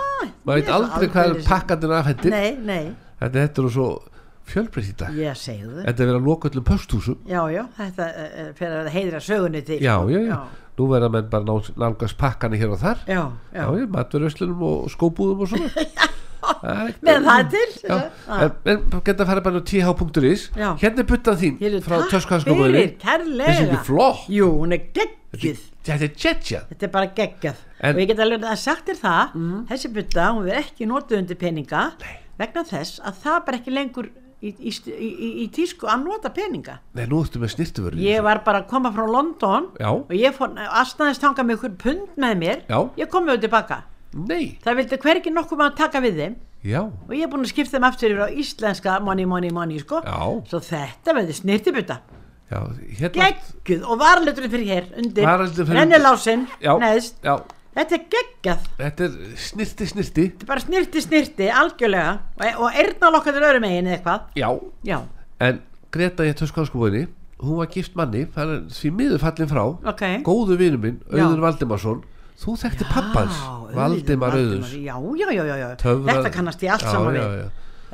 S2: maður
S3: ég
S2: veit
S3: er
S2: aldrei
S3: aldeilis.
S2: hvað er pakkandinn afhendir
S3: Nei, nei,
S2: þetta, þetta er nú svo fjölbreytt í dag
S3: ég segi það
S2: Þetta er verið að loka öllum posthúsum
S3: já, já, þetta eh, fer að heiðra sögunni til
S2: Já, já, já,
S3: já,
S2: nú verða menn bara ná- nálgast pakkani hér og þar
S3: já, já.
S2: Já, já, matverðuslunum og skóbúðum og svona Já,
S3: Meðan það er til,
S2: Já,
S3: já.
S2: en, en geta að fara bara á th.is
S3: Já.
S2: Hérna er buttan þín
S3: Hér er
S2: frá
S3: takk
S2: töskuhanskóbúðinni
S3: fyrir, kærlega.
S2: Þessi ekki flott
S3: jú, hún er geggjuð
S2: Þetta er tjetja
S3: þetta er bara geggjað
S2: En- Mm.
S3: og ég get alveg að sagt þér það þessi butta, hún verður ekki notuð undir peninga
S2: Nei.
S3: vegna þess að það er bara ekki lengur í, í, st- í, í, í tísku að nota peninga
S2: Nei, nú ertu með snirtuvörðu
S3: ég var bara að koma frá London
S2: Já.
S3: og ég fór, aðstæðist hanga með ykkur pund með mér
S2: Já.
S3: ég kom með tilbaka
S2: Nei,
S3: það vildi hvergi nokkuð maður taka við þeim
S2: já,
S3: og ég er búin að skipta þeim aftur yfir á íslenska money money money sko
S2: Já.
S3: svo þetta verður snirtibutta
S2: já Hérna
S3: geggjuð og varaliturinn fyrir hér undir
S2: Varaliturinn fyrir undir.
S3: rennilásinn
S2: Já,
S3: neðst
S2: já,
S3: þetta er geggjað
S2: þetta er snirti, snirti
S3: þetta er bara snirti snirti algjörlega og, og eirnalokkaður öðrum megin eða hvað
S2: Já,
S3: já
S2: en Greta í töskuhanskóbúðinni Hún var gift manni, hann er því miður fallin frá
S3: ok
S2: góðu vinnu minn, Auður
S3: Já.
S2: Valdimarsson þú þekkti pappans,
S3: Já, auðvitað,
S2: Valdimar Auðurs
S3: já já já já, já.
S2: Töfra-
S3: þetta kannast ég allt
S2: Já,
S3: saman
S2: já,
S3: við
S2: já.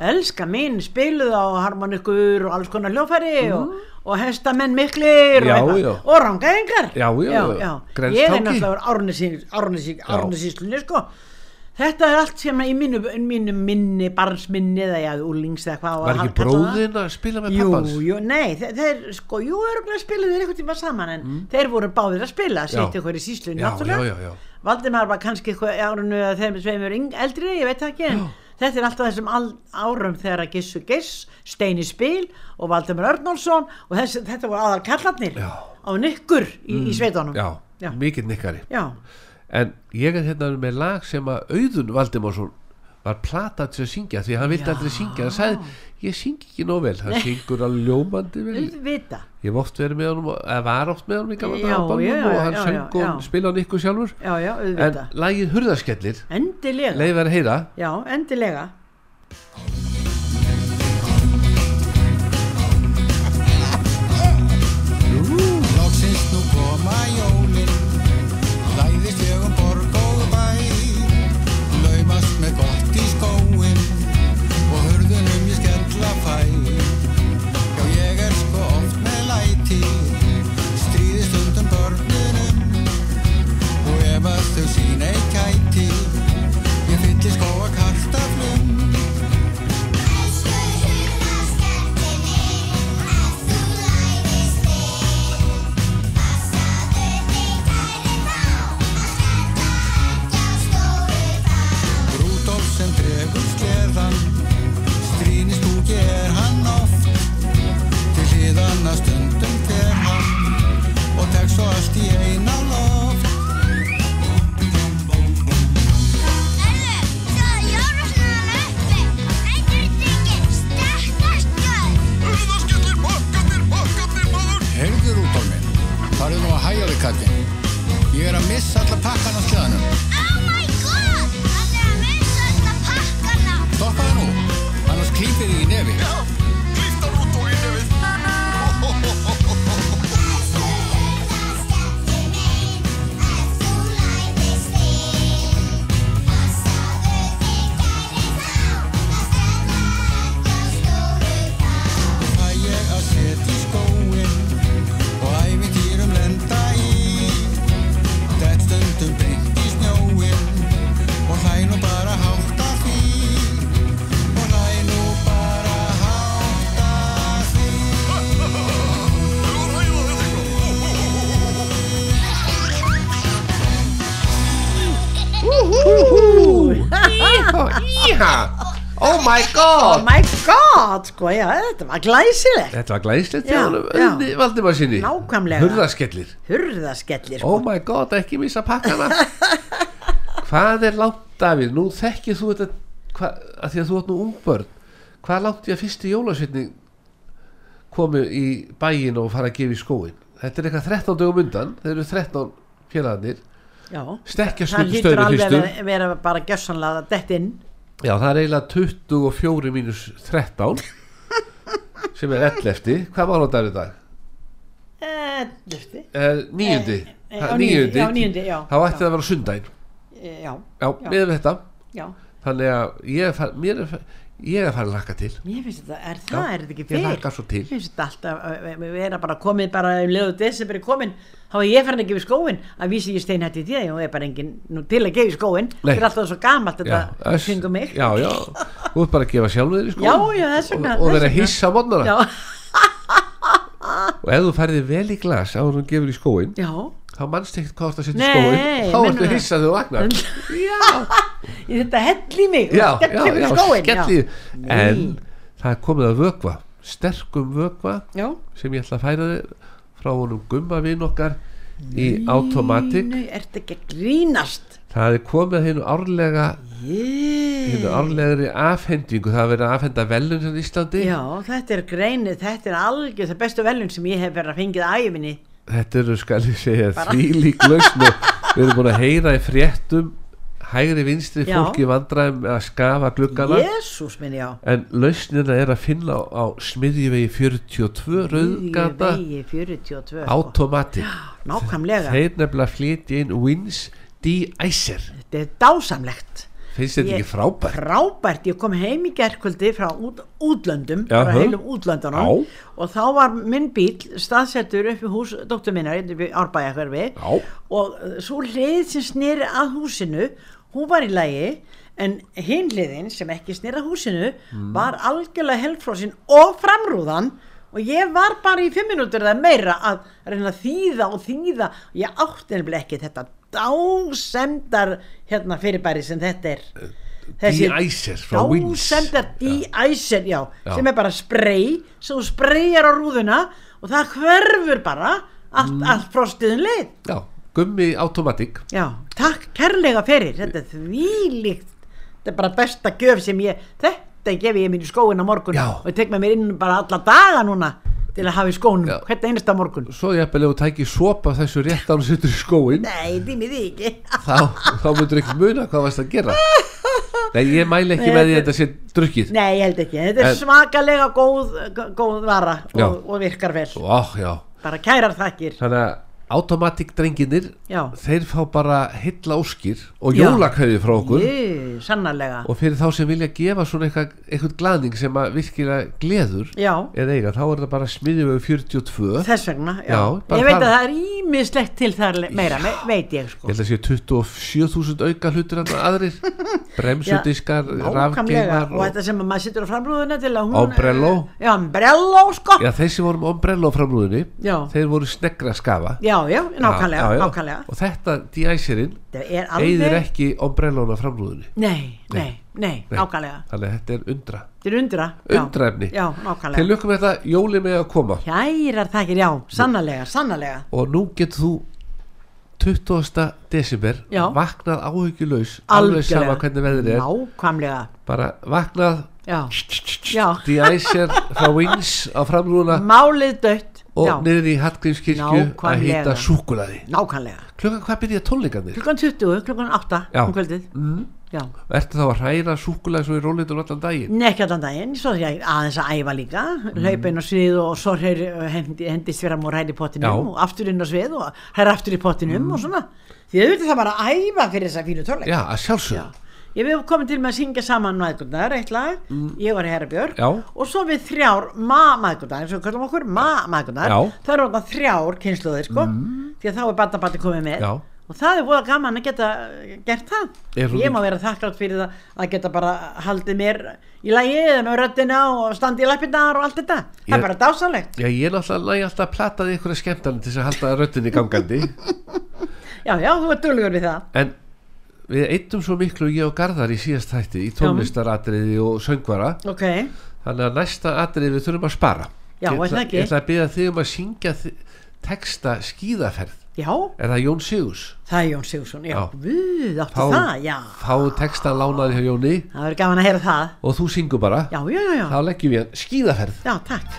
S3: elska mín spiluð á harmonikur og alls konar hljófæri og, og hestamenn miklir
S2: Mm. Já,
S3: og,
S2: já.
S3: eitthvað. og rangaðingar
S2: Já, já,
S3: já,
S2: já.
S3: ég er
S2: Grenstangi.
S3: náttúrulega
S2: Já.
S3: árnesíslunni sko þetta er allt sem í mínu, mínu minni barnsminni eða já, úlings eða hvað á
S2: var
S3: að
S2: ekki
S3: kalla það.
S2: bróðin að spila með
S3: Jú,
S2: pappans
S3: jú, nei, þe þeir sko, jú, örgulega spilaðu þeir eitthvað tíma saman en þeir voru báðir að spila, sitt eitthvað í síslunni
S2: Mm. Já,
S3: náttúrulega
S2: já, já, já.
S3: Valdimar var kannski eitthvað í árunnu að þeim sveimur eldri, ég veit það ekki en þetta er alltaf þessum al- árum þegar að Gissu Giss, Steini Spil og Valdimar Örnálsson og þess, þetta voru aðal kallarnir
S2: Já. Mm.
S3: á nykkur í, í sveitunum
S2: já,
S3: Já.
S2: mikill nikkari
S3: Já,
S2: en ég er hérna með lag sem að Auðun Valdimarsson var platað til að syngja því hann vildi aldrei syngja, hann sagði ég syngi ekki nóg vel, hann syngur alveg ljómandi vel
S3: auðvita
S2: ég hef oft verið með honum, og- eða var oft með honum í gamla
S3: Já,
S2: daga á
S3: já,
S2: ballum
S3: já,
S2: og hann
S3: já, já,
S2: söng
S3: já.
S2: og spilaði hann ykkur sjálfur
S3: Já, já,
S2: en
S3: auðvita
S2: lagið Hurðarskellir
S3: Endilega,
S2: leiði verið að heyra
S3: já, endilega
S9: Loksins nú koma jólin Læðist ég um borg og bæ Laumast með gott í skóin Og hurðunum ég skella fæ Já ég er sko oft með læti Stríði stundum börnunum Og ef að þau sína eitt kæti Ég fylli skóa kartaflum
S5: Elsku hurðaskertin minn, ef þú læðist inn, passaðu þig kæri þá, að skella ekki á stóru þá.
S9: Rúdolf sem dregur sleðan Strýnist úr er hann oft Til hliðan að stundum fer hann Og tek svo allt í eina loft
S5: Örður, sjáðu jólasveinan uppi, lætur þig stakka skjöld.
S9: Hurðaskellir, bakkarnir, bakkarnir maður Heyrðu Rúdolf minn, farðu nú að hæja þig kallinn Ég er að missa alla pakkan á sleðanum
S5: Oh my god, hann er að missa alla pakkana.
S9: Stoppaðu nú, annars klípið þig í nefi Já, klípta Rúdolf í nefið
S5: Elsku hurðaskertin minn, ef þú læðist inn, passaðu þig kæri þá, að skella ekki á stóru þá.
S9: Fæ ég að setja í skóin og æfintýrum lenda í Dett stundum beint í snjóin og hlæ nú bara hátt að því og hlæ nú bara hátt að því
S2: Íha, oh my god
S3: Oh my god, sko, já, þetta var glæsilegt
S2: Þetta var glæslegt hjá
S3: Já,
S2: honum
S3: já.
S2: Önni Valdimar sinni
S3: Nákvæmlega.
S2: Hurðaskellir
S3: Hurðaskellir, sko
S2: Oh my god, ekki missa pakkana Hvað er langt, Davíð? Nú þekkir þú þetta hva, að Því að þú átt nú ungbörn Hvað langt ég að fyrsti jólasveitni komu í bæin og fara að gefa í skóin? Þetta er eitthvað 13 dögum undan Þeir eru 13 félagarnir
S3: Já,
S2: Stekkja
S3: það lítur
S2: stöðum
S3: alveg að
S2: fyrstu
S3: vera, vera bara gjössanlega dett inn
S2: Já, það er eiginlega 24 mínus 13 sem er 11 Hvað var þetta í dag?
S3: Eh, lyfti.
S2: Eh, Níundi
S3: eh,
S2: Ha,
S3: á níundi, já, níundi, já,
S2: Þá ætti
S3: já.
S2: það að vera sundaginn
S3: Eh, Já,
S2: Já,
S3: Já.
S2: miður við þetta
S3: já,
S2: Þannig að ég, er fa- mér er, fa- ég er að fara að lakka til
S3: Mér finnst þetta, er það,
S2: Já,
S3: er þetta ekki
S2: ég
S3: fyrr?
S2: hlakka svo til.
S3: Mér finnst þetta alltaf, ö, ö, við erum bara komið bara um leiðu desember er komin, þá er ég farin að gefa í skóin, að vísi ég steinhætti í því að ég er bara engin, nú til að gefa í skóin,
S2: Nei.
S3: þetta er alltaf svo gamalt þetta
S2: öss.
S3: kringum mig.
S2: já, já, þú ert bara að gefa sjálfum þér í sko
S3: Já, já, þess
S2: og,
S3: vegna,
S2: og
S3: þess
S2: vera
S3: vegna.
S2: hissa mótnara
S3: Já,
S2: og ef þú færði vel í glas á hún gefur í skóin
S3: já,
S2: þá mannst ekkert hvað þú ert að setja í
S3: Nei,
S2: skóin þá
S3: meinarðu
S2: ertu
S3: það?
S2: hissa þegar þú vagnar
S3: ég þetta hell í mig,
S2: já,
S3: og skell
S2: já,
S3: í mig
S2: já,
S3: í skóin.
S2: skelli en
S3: Nei.
S2: það er komið að vökva sterkum vökva
S3: Já,
S2: sem ég ætla að færa þér frá honum gumma vinn okkar í automatic
S3: Nei, ertu ekki að grínast?
S2: það er komið að hinu árlega hinu
S3: Yeah.
S2: árlegri afhendingu það er verið að afhenda velun hérna í Íslandi
S3: Já, þetta er greinið, þetta er algjör það bestu velun sem ég hef verið að fengið æfinni.
S2: þetta eru skal ég segja því lík lausn og við erum búin að heyra í fréttum hægri vinstri
S3: Já.
S2: fólki vandræðum með að skafa gluggana
S3: Jésús minn, já.
S2: en lausnina er að finna á, á smiðjuvegi 42 rauðgata
S3: Vegi 42. sko.
S2: automatic
S3: Nákvæmlega,
S2: þeir nefnilega flytja inn Wins D-Icer
S3: þetta er dásamlegt
S2: finnst þetta
S3: Ég-
S2: ekki frábært
S3: Frábært, ég kom heim í gerkvöldi frá út, útlöndum
S2: Já,
S3: frá
S2: hö.
S3: heilum útlöndunum
S2: Já.
S3: og þá var minn bíl staðsettur upp í hús dóttur minnar hérna í árbæjarhverfi
S2: Já.
S3: og uh, svo hlið sem snýri að húsinu hún var í lagi en hinn hliðin sem ekki snýri að húsinu
S2: Mm.
S3: var algjörlega helfrósin og framrúðan og ég var bara í fimm minútur eða meira að reyna að þýða og þýða ég átti nefnilega ekki þetta dásemdar hérna fyrirbæri sem þetta er
S2: D-Icer Eh, frá Wins
S3: Dásendar de-icer, já,
S2: Já.
S3: sem er bara spray, sem þú sprayjar á rúðuna og það hverfur bara allt,
S2: Mm.
S3: allt frostiðin leið.
S2: Já, gummi automatic
S3: Já, takk kærlega fyrir, þetta er þvílíkt, þetta er bara besta gjöf sem ég, þetta gef ég mínu skóin á morgun
S2: Já.
S3: og ég tek með mér inn bara alla daga núna til að hafa í skónum,
S2: Já.
S3: hvert einasta morgun.
S2: svo ég hefði að tæki sopa þessu rétt án sittur í skóin
S3: Nei, dými því ekki.
S2: þá, þá myndur ekki muna hvað varst að gera Nei, ég mæli ekki með því að þetta sé drukkið
S3: Nei, ég held ekki, þetta er
S2: En-
S3: svakalega góð, góð vara
S2: Já.
S3: og, og virkar vel,
S2: Ó, já
S3: bara kærar þakkir.
S2: Þannig að automatic drenginir
S3: Já.
S2: þeir fá bara heilla óskir og
S3: Já.
S2: jólakauði frá okkur
S3: Jú, sannarlega.
S2: og fyrir þá sem vilja gefa svona eitthvað, eitthvað glaðning sem að virkilega gleður
S3: Já,
S2: eða eiga, þá er það bara smiðjum 42
S3: þess vegna já.
S2: Já, bara
S3: Ég veit að
S2: fara.
S3: það er ímislegt til þar le- meira, me, veit ég sko
S2: Ég held að sé 27.000 auka hlutir en aðrir Bremsudiskar,
S3: Nákvæmlega,
S2: rafgeimar
S3: og þetta sem að maður sittur á framrúðuna til að hún eh,
S2: Ombrello.
S3: Já, ombrello sko
S2: Já, þeir sem voru með ombrello framrúðinni
S3: Já.
S2: Þeir voru snegra að skafa
S3: Já, já, nákvæmlega,
S2: Já, já, já.
S3: nákvæmlega
S2: Og þetta de-icerinn
S3: Þetta er
S2: eigðir
S3: alveg
S2: ekki ombrellona framrúðinni
S3: Nei, nei, nei,
S2: Nei.
S3: nákvæmlega
S2: Þannig að þetta er undra
S3: Þetta er undra já.
S2: Undraefni
S3: Já,
S2: Til um-
S3: nákvæmlega
S2: lukkum með þetta, jóli með að koma
S3: Kærar þakir, já, sannarlega, sannarlega
S2: Og nú getur þú 20. desember
S3: Já.
S2: vaknað áhyggjulaus
S3: Algjörlega.
S2: alveg sama hvernig veðrið er
S3: Nákvæmlega,
S2: bara vaknað
S3: já, já
S2: de-icer frá Wings á framrúðuna
S3: Málið dött,
S2: og
S3: já,
S2: niður í Hallgrímskirkju að
S3: Nákvæmlega.
S2: hýta súkulaði
S3: nákvæmlega
S2: klukkan hvað byrja tónleikarnir?
S3: Klukkan 20, klukkan 8
S2: Já.
S3: um kvöldið
S2: Mm.
S3: Já,
S2: ertu þá að hræra súkulaði svo í róleitur allan daginn?
S3: Nei, ekki allan daginn, svo þegar ég aðeins að æfa líka, hlaupa inn á svið og svo heyr, hendi, hendist vera múr hæri í pottinum
S2: Já.
S3: og aftur inn á svið og hæri aftur í pottinum og svona. Því þau veitir það bara að æfa fyrir þessa fínu tónleik.
S2: já, að sjálfsögðu
S3: Ég við komum til með að syngja saman maðgundar, eitt lag, ég var herra
S2: Mm.
S3: Björg
S2: Já.
S3: og svo við þrjár ma-maðgundar, eins og við kallum okkur ma-maðgundar,
S2: Já. Mm.
S3: það eru orðan þrjár kynsluðir sko, því að þá er barnabandi komið með.
S2: Já.
S3: Og það er voða gaman að geta eh, gert það.
S2: Er hún-
S3: Ég má vera þakklátt fyrir það að geta bara haldið mér í lagi eða með röddina og standið í lappinnar og allt þetta. Það
S2: Ég-
S3: er bara dásanlegt.
S2: já, ég er náttúrulega næg alltaf að plata því einhverja skemmtarnir til þess að halda röttinni gangandi
S3: Já, já, þú ert dölgur við það.
S2: en við eittum svo miklu ég og Garðar í síðast þætti í tónlistaratriði og söngvara
S3: Ok,
S2: þannig að næsta atriði við þurfum að spara
S3: Já,
S2: ég,
S3: er það
S2: ætla,
S3: ekki?
S2: ég ætla að byrja þig um að syngja þi- texta skíðaferð
S3: já,
S2: er það Jón Sigurs?
S3: það er Jón Sigursson. Já,
S2: Já.
S3: við áttu
S2: Fá-
S3: það, já.
S2: fá texta lánaði hjá Jóni
S3: Það verður gaman að heyra það.
S2: og þú syngur bara
S3: Já, já, já, já.
S2: þá leggjum við hann skíðaferð
S3: Já, takk.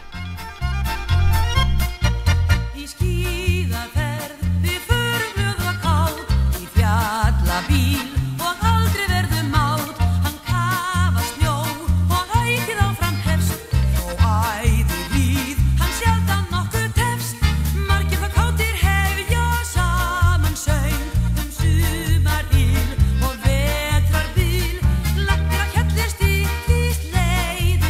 S1: Í skíðaferð við förum glöð og kát Í fjallabíl og aldrei verðum mát Hann kafa snjó og ækir áfram hefst Og æði líð, hann sjaldan nokkuð tefst Margir það kátir hefja saman söng Um sumar og vetrar bíl Lagnir á hjallir stíl í sleð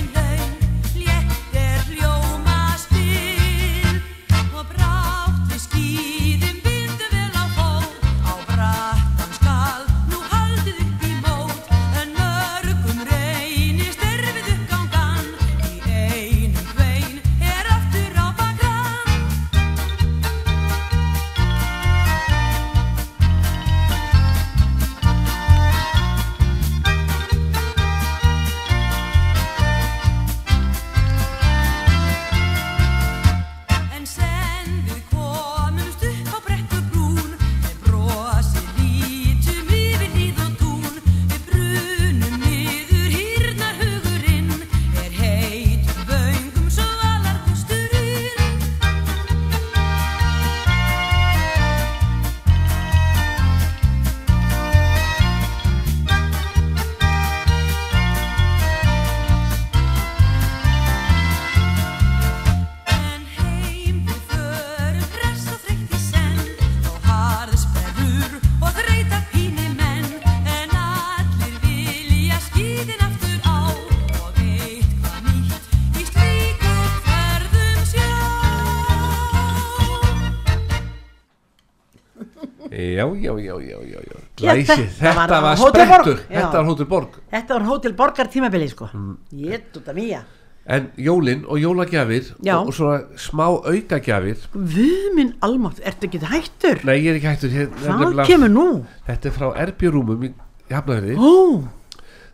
S2: já, já, já, já, já, já.
S3: Já,
S2: Læsi,
S3: þetta
S2: þetta var,
S3: var
S2: var
S3: Hótel Borg,
S2: sprettur
S3: já.
S2: Þetta var Hótel Borg
S3: Þetta var hótel borgar tímabili sko
S2: Mm.
S3: Ég dúta mía
S2: En jólin og jólagjafir
S3: Já.
S2: og, og svona smá aukagjafir
S3: Guð minn almátt, ertu ekki hættur?
S2: Nei, ég er ekki hættur hér,
S3: Hvað kemur nú?
S2: Þetta er frá erbjörúmum í Hafnarfjörði
S3: Ó,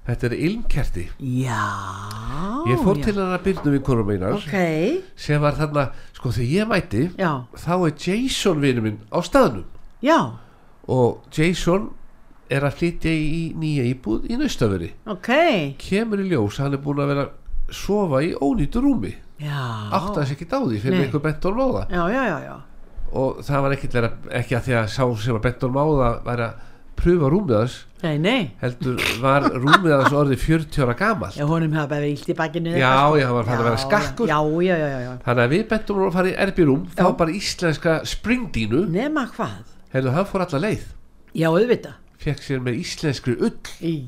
S2: Þetta er ilmkerti
S3: já
S2: Ég fór
S3: já.
S2: til hennar byrnum í konum einar
S3: Ok,
S2: sem var þarna, sko þegar ég mæti
S3: já,
S2: þá er Jason vinur minn á staðnum
S3: já,
S2: og Jason er að flytja í nýja íbúð í naustaföri
S3: ok
S2: kemur í ljós að hann er búin að vera að sofa í ónýtu rúmi
S3: Já,
S2: átt að þessi ekki dáði fyrir
S3: Nei.
S2: Nei. einhver bentur máða
S3: já, já, já, já
S2: og það var ekkit vera, ekki að því að sá sem var bentur máða væri að pröfa rúmið hans
S3: Nei, nei,
S2: heldur var rúmið hans orðið 40 ára gamalt
S3: já, honum hafa bara illt í bakinu
S2: Já,
S3: eitthvað, sko.
S2: já, hann var farinn að vera skakkur.
S3: Já, já, já, já, já.
S2: þannig að við bentum hann að fara í erbyrúm þá bara íslenska springdínu
S3: Nema hvað?
S2: heldur hann fór alla leið
S3: Já, auðvitað
S2: fekk sér með íslenskri ull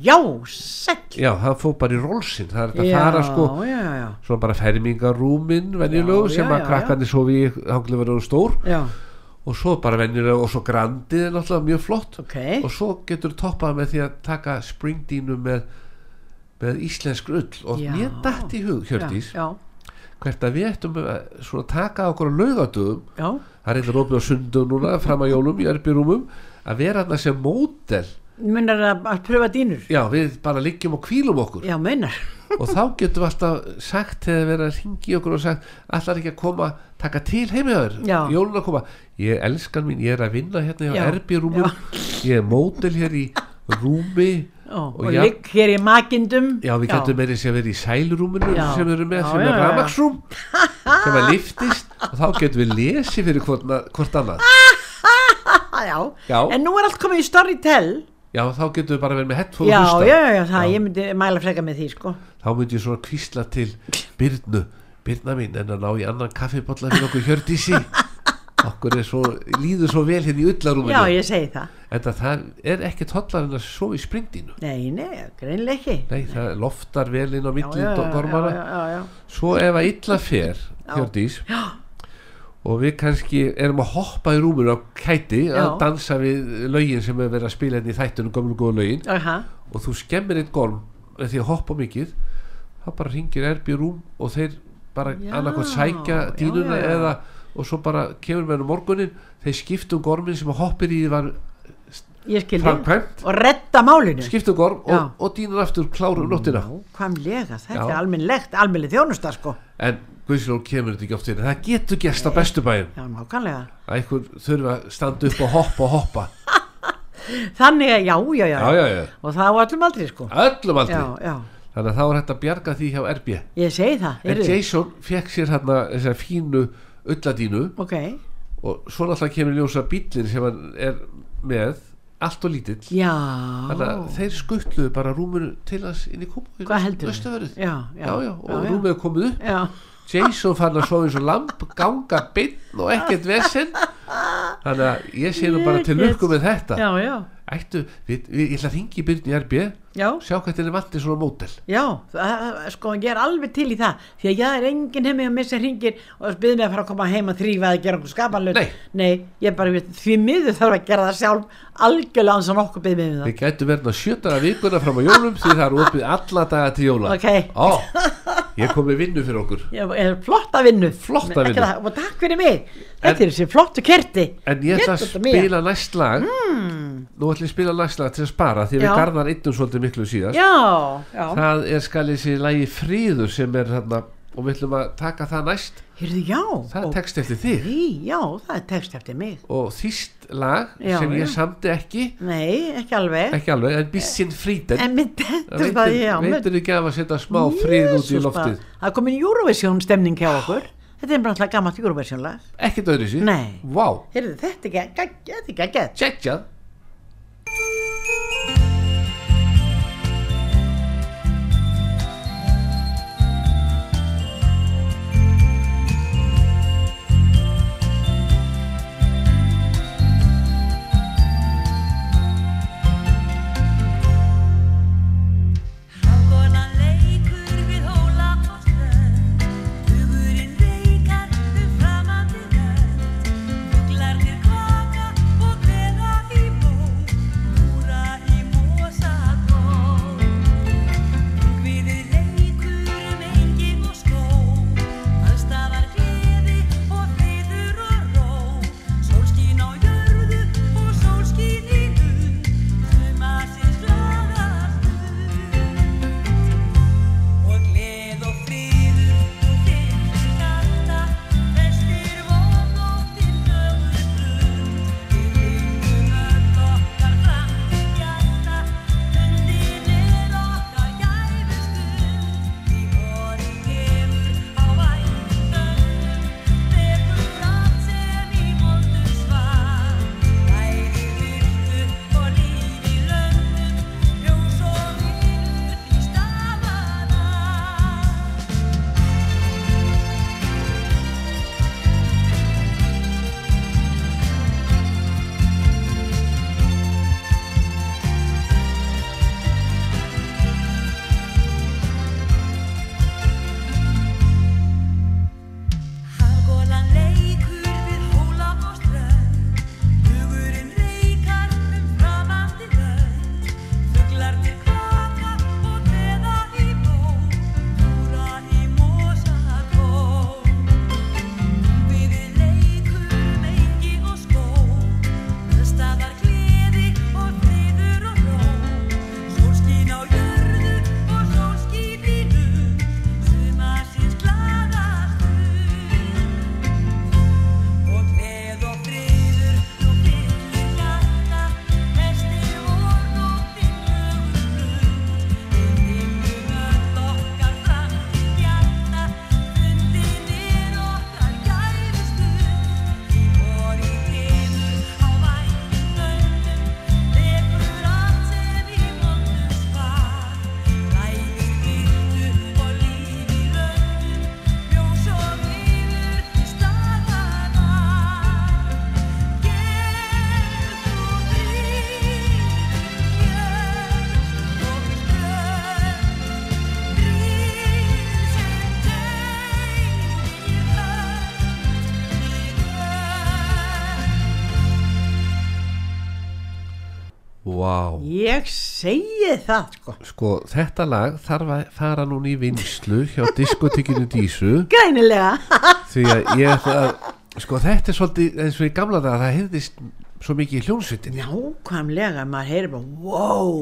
S3: Já, sæll
S2: já, hann fór bara í rólsinn það er þetta að fara sko
S3: Já, já, já,
S2: svona bara fermingarúmin venjulegu
S3: Já,
S2: sem
S3: já,
S2: að
S3: já,
S2: krakkandi sofi í hanglega verður stór
S3: já,
S2: og svo bara venjulegu og svo grandið er náttúrulega mjög flott
S3: ok
S2: og svo getur toppað með því að taka springdínu með, með íslensk ull og
S3: Já.
S2: mér datt í hug Hjördís
S3: Já,
S2: hvert að við ættum að svona taka okkur á laugadögum
S3: já,
S2: það er eitthvað opið á sundum núna fram að jólum í erbyrúmum að vera þarna sem mótel
S3: já Munar að að pröfa dínur
S2: já við bara liggjum og kvílum okkur
S3: Já, munar
S2: og þá getum við alltaf sagt þegar við erum að ringi okkur og sagt allar ekki að koma, taka til heimjöður
S3: Já.
S2: jólun að koma, ég elskan mín ég er að vinna hérna hjá
S3: Já.
S2: erbyrúmum ég er mótel hér í rúmi
S3: Ó, Og,
S2: já-
S3: ligg hér í makindum
S2: Já, við getum meiri sem verið í sælrúminu
S3: Já.
S2: sem við erum með,
S3: Já,
S2: sem er
S3: já, já, já.
S2: ramaksrúm sem að liftist og þá getum við lesið fyrir hvort, hvort annað
S3: Ah, já.
S2: Já.
S3: En nú er allt komið í Storytel
S2: Já, þá getum við bara verið með headphone
S3: Já,
S2: og hlusta
S3: já, já, það, ég myndi mæla freka með því, sko
S2: Þá myndi ég svona kvísla til Byrnu, Byrna mín en að ná í annan kaffibotla fyrir okkur hjördísi Okkur er svo, líður svo vel hérna í ullarúminu
S3: Já, ég segi það
S2: En það er ekki tollar en að svo í springdínu
S3: Nei, nei, greinlega ekki
S2: Nei, það loftar vel inn á
S3: Já,
S2: milli
S3: já, já,
S2: gormana
S3: já, já, já.
S2: Svo ef að illa fer Hjördís og við kannski erum að hoppa í rúmur á kæti að
S3: Já.
S2: dansa við lögin sem er verið að spila hérna í þættunum gömlu góðu lögin
S3: Aha.
S2: og þú skemmir eitt golm með því að hoppa mikið þá bara ringir erbi í rúm og þeir bara
S3: Já,
S2: annarkvæmt sækja
S3: já,
S2: dýnuna
S3: já, já.
S2: eða og svo bara kemur með hann um morgunin þeir skiptum gormin sem að hoppir í var
S3: Ég skil þig
S2: framkvæmt
S3: Og redda málinu
S2: skiptum um gorm
S3: Já.
S2: og, og dýnan aftur klárum nóttina
S3: Hvaðumlega, þetta
S2: Já.
S3: er almennlegt, almenni þjónusta, sko
S2: en Guðsjálf kemur þetta ekki oft inn það getur gerst á bestu bæjum
S3: Já, nákvæmlega
S2: að einhver þurfa að standa upp og hoppa og hoppa
S3: Þannig að, já, já, já,
S2: já, já, já,
S3: Og það á öllum aldrei, sko
S2: öllum aldrei
S3: Já, já,
S2: þannig að þá er hægt að bjarga því hjá RB
S3: ég segi það
S2: en
S3: heyrðu.
S2: Jason fekk sér hérna þessa fínu ulladínu
S3: Ok,
S2: og svo náttúrulega kemur í ljós að bíllinn sem hann er með allt og lítill
S3: já
S2: þannig að þeir skuttluðu bara rúmur til hans inn í kópa
S3: Hvað heldur
S2: já,
S3: Já, já,
S2: já, og rúmið er komið upp
S3: Já,
S2: Jason fann að sofa eins og lamp ganga binn og ekkert vesinn þannig að ég sé nú bara til
S3: Ég get-
S2: lukku með þetta
S3: já, já,
S2: Ættu, við, við, ég ætla að ringi í byrjun í RB
S3: já.
S2: sjá hvað þetta er vandi svona mótel
S3: Já, það, sko ég er alveg til í það því að ég er enginn heimi og missa hringir og byrði mig að fara að koma heim að þrýfa eða gera okkur skapanlut
S2: Nei.
S3: ég er bara við, því miður þarf að gera það sjálf algjörlega án sem okkur byrði mig um það
S2: Við gætu verið að sjötara vikuna fram á jólum því það er opið alla daga til jóla
S3: Ok.
S2: Ó, Ég kom með vinnu fyrir okkur
S3: ég er flotta vinnu
S2: Flotta
S3: Ekki
S2: vinnu.
S3: það, og takk fyrir mig þetta er þessi flottu kerti
S2: En ég ætla að
S3: Jökull, Mía.
S2: spila næst lag Nú ætla ég að spila næst lag til að spara því að
S3: Hmm. Já.
S2: við garðar einnum svolítið miklu síðast
S3: já, já,
S2: Það er skalið sér lagi fríður sem er þarna og við ætlum að taka það næst
S3: hérðu já
S2: Það
S3: og-
S2: er tekst eftir þig
S3: Í, já, það er tekst eftir mig
S2: og þýst lag
S3: Já,
S2: sem ég
S3: já.
S2: samdi ekki
S3: nei, ekki alveg
S2: ekki alveg, en bissinn fríten
S3: en mér dettur það í- já, mér-
S2: veitir ekki af að setja smá fríð út í
S3: Jesús,
S2: loftið
S3: bara, það er komin Eurovision stemning hjá okkur þetta er bara alltaf gammalt Eurovision lag
S2: ekkert öðru sér
S3: Nei.
S2: Vá,
S3: Heyrðu, þetta er gegg- gegg- þetta er geggjað.
S2: tjekkjað
S1: Hákonan leikur við hóla og strönd Hugurinn veikar við framandi vönd Fuglarnir kvaka og kveða í
S2: Vá.
S3: Ég segi það sko.
S2: Sko, þetta lag þarf að fara núna í vinslu hjá diskotekinu Dísu
S3: Greinilega.
S2: því að ég ætla að, sko, þetta er svolítið eins og í gamla daga, það heyrðist svo mikið í hljónsvitinni.
S3: Nákvæmlega, maður heyrir bara, wow,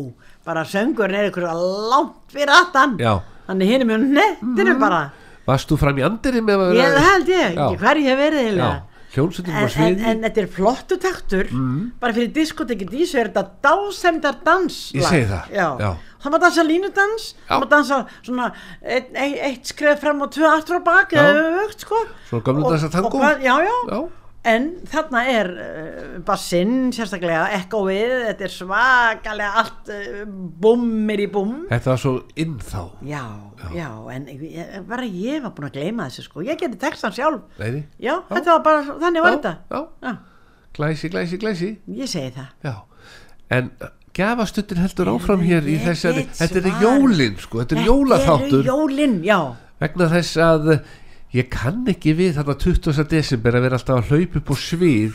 S3: bara söngurinn er ykkur langt fyrir aftan.
S2: Já.
S3: Þannig hinn er mjög nettinu bara.
S2: Varst þú fram í andirinn með að
S3: Ég það held ég,
S2: Já.
S3: ekki hver ég hef verið
S2: Já,
S3: eiginlega.
S2: hljónsvitinni
S3: En,
S2: var
S3: en,
S2: sviði.
S3: en þetta er flottu taktur,
S2: Mm.
S3: bara fyrir diskotekin dísu er þetta dásemdar dans.
S2: Ég segi það,
S3: Já.
S2: já.
S3: Það má dansa línudans,
S2: Já.
S3: það má dansa svona eitt, eitt, eitt skref fram og tvö aftur á bak,
S2: Já.
S3: eða öfugt sko.
S2: Svona gömlu
S3: Og-
S2: dansa
S3: og
S2: tangó.
S3: hvað- Já, já.
S2: Já,
S3: En þarna er uh, bassinn sérstaklega ekkoið, þetta er svakalega allt uh, búmmir í búmm.
S2: þetta var svo inn þá.
S3: Já, já, en ég- ég- bara ég var búin að gleyma þessu sko, ég geti textan sjálf.
S2: Nei, nei.
S3: Já, þetta var bara, þannig var
S2: Já,
S3: þetta.
S2: Já,
S3: Já,
S2: glæsi, glæsi, glæsi.
S3: ég segi það.
S2: Já, en gafastuttin heldur áfram hér í
S3: Ég
S2: þessari,
S3: veit
S2: þetta er
S3: svar.
S2: jólin, sko, þetta er jólaþáttur.
S3: eru jólin, já.
S2: vegna þess að eh, ég kann ekki við þarna 20. desember að vera alltaf að hlaupa upp á svið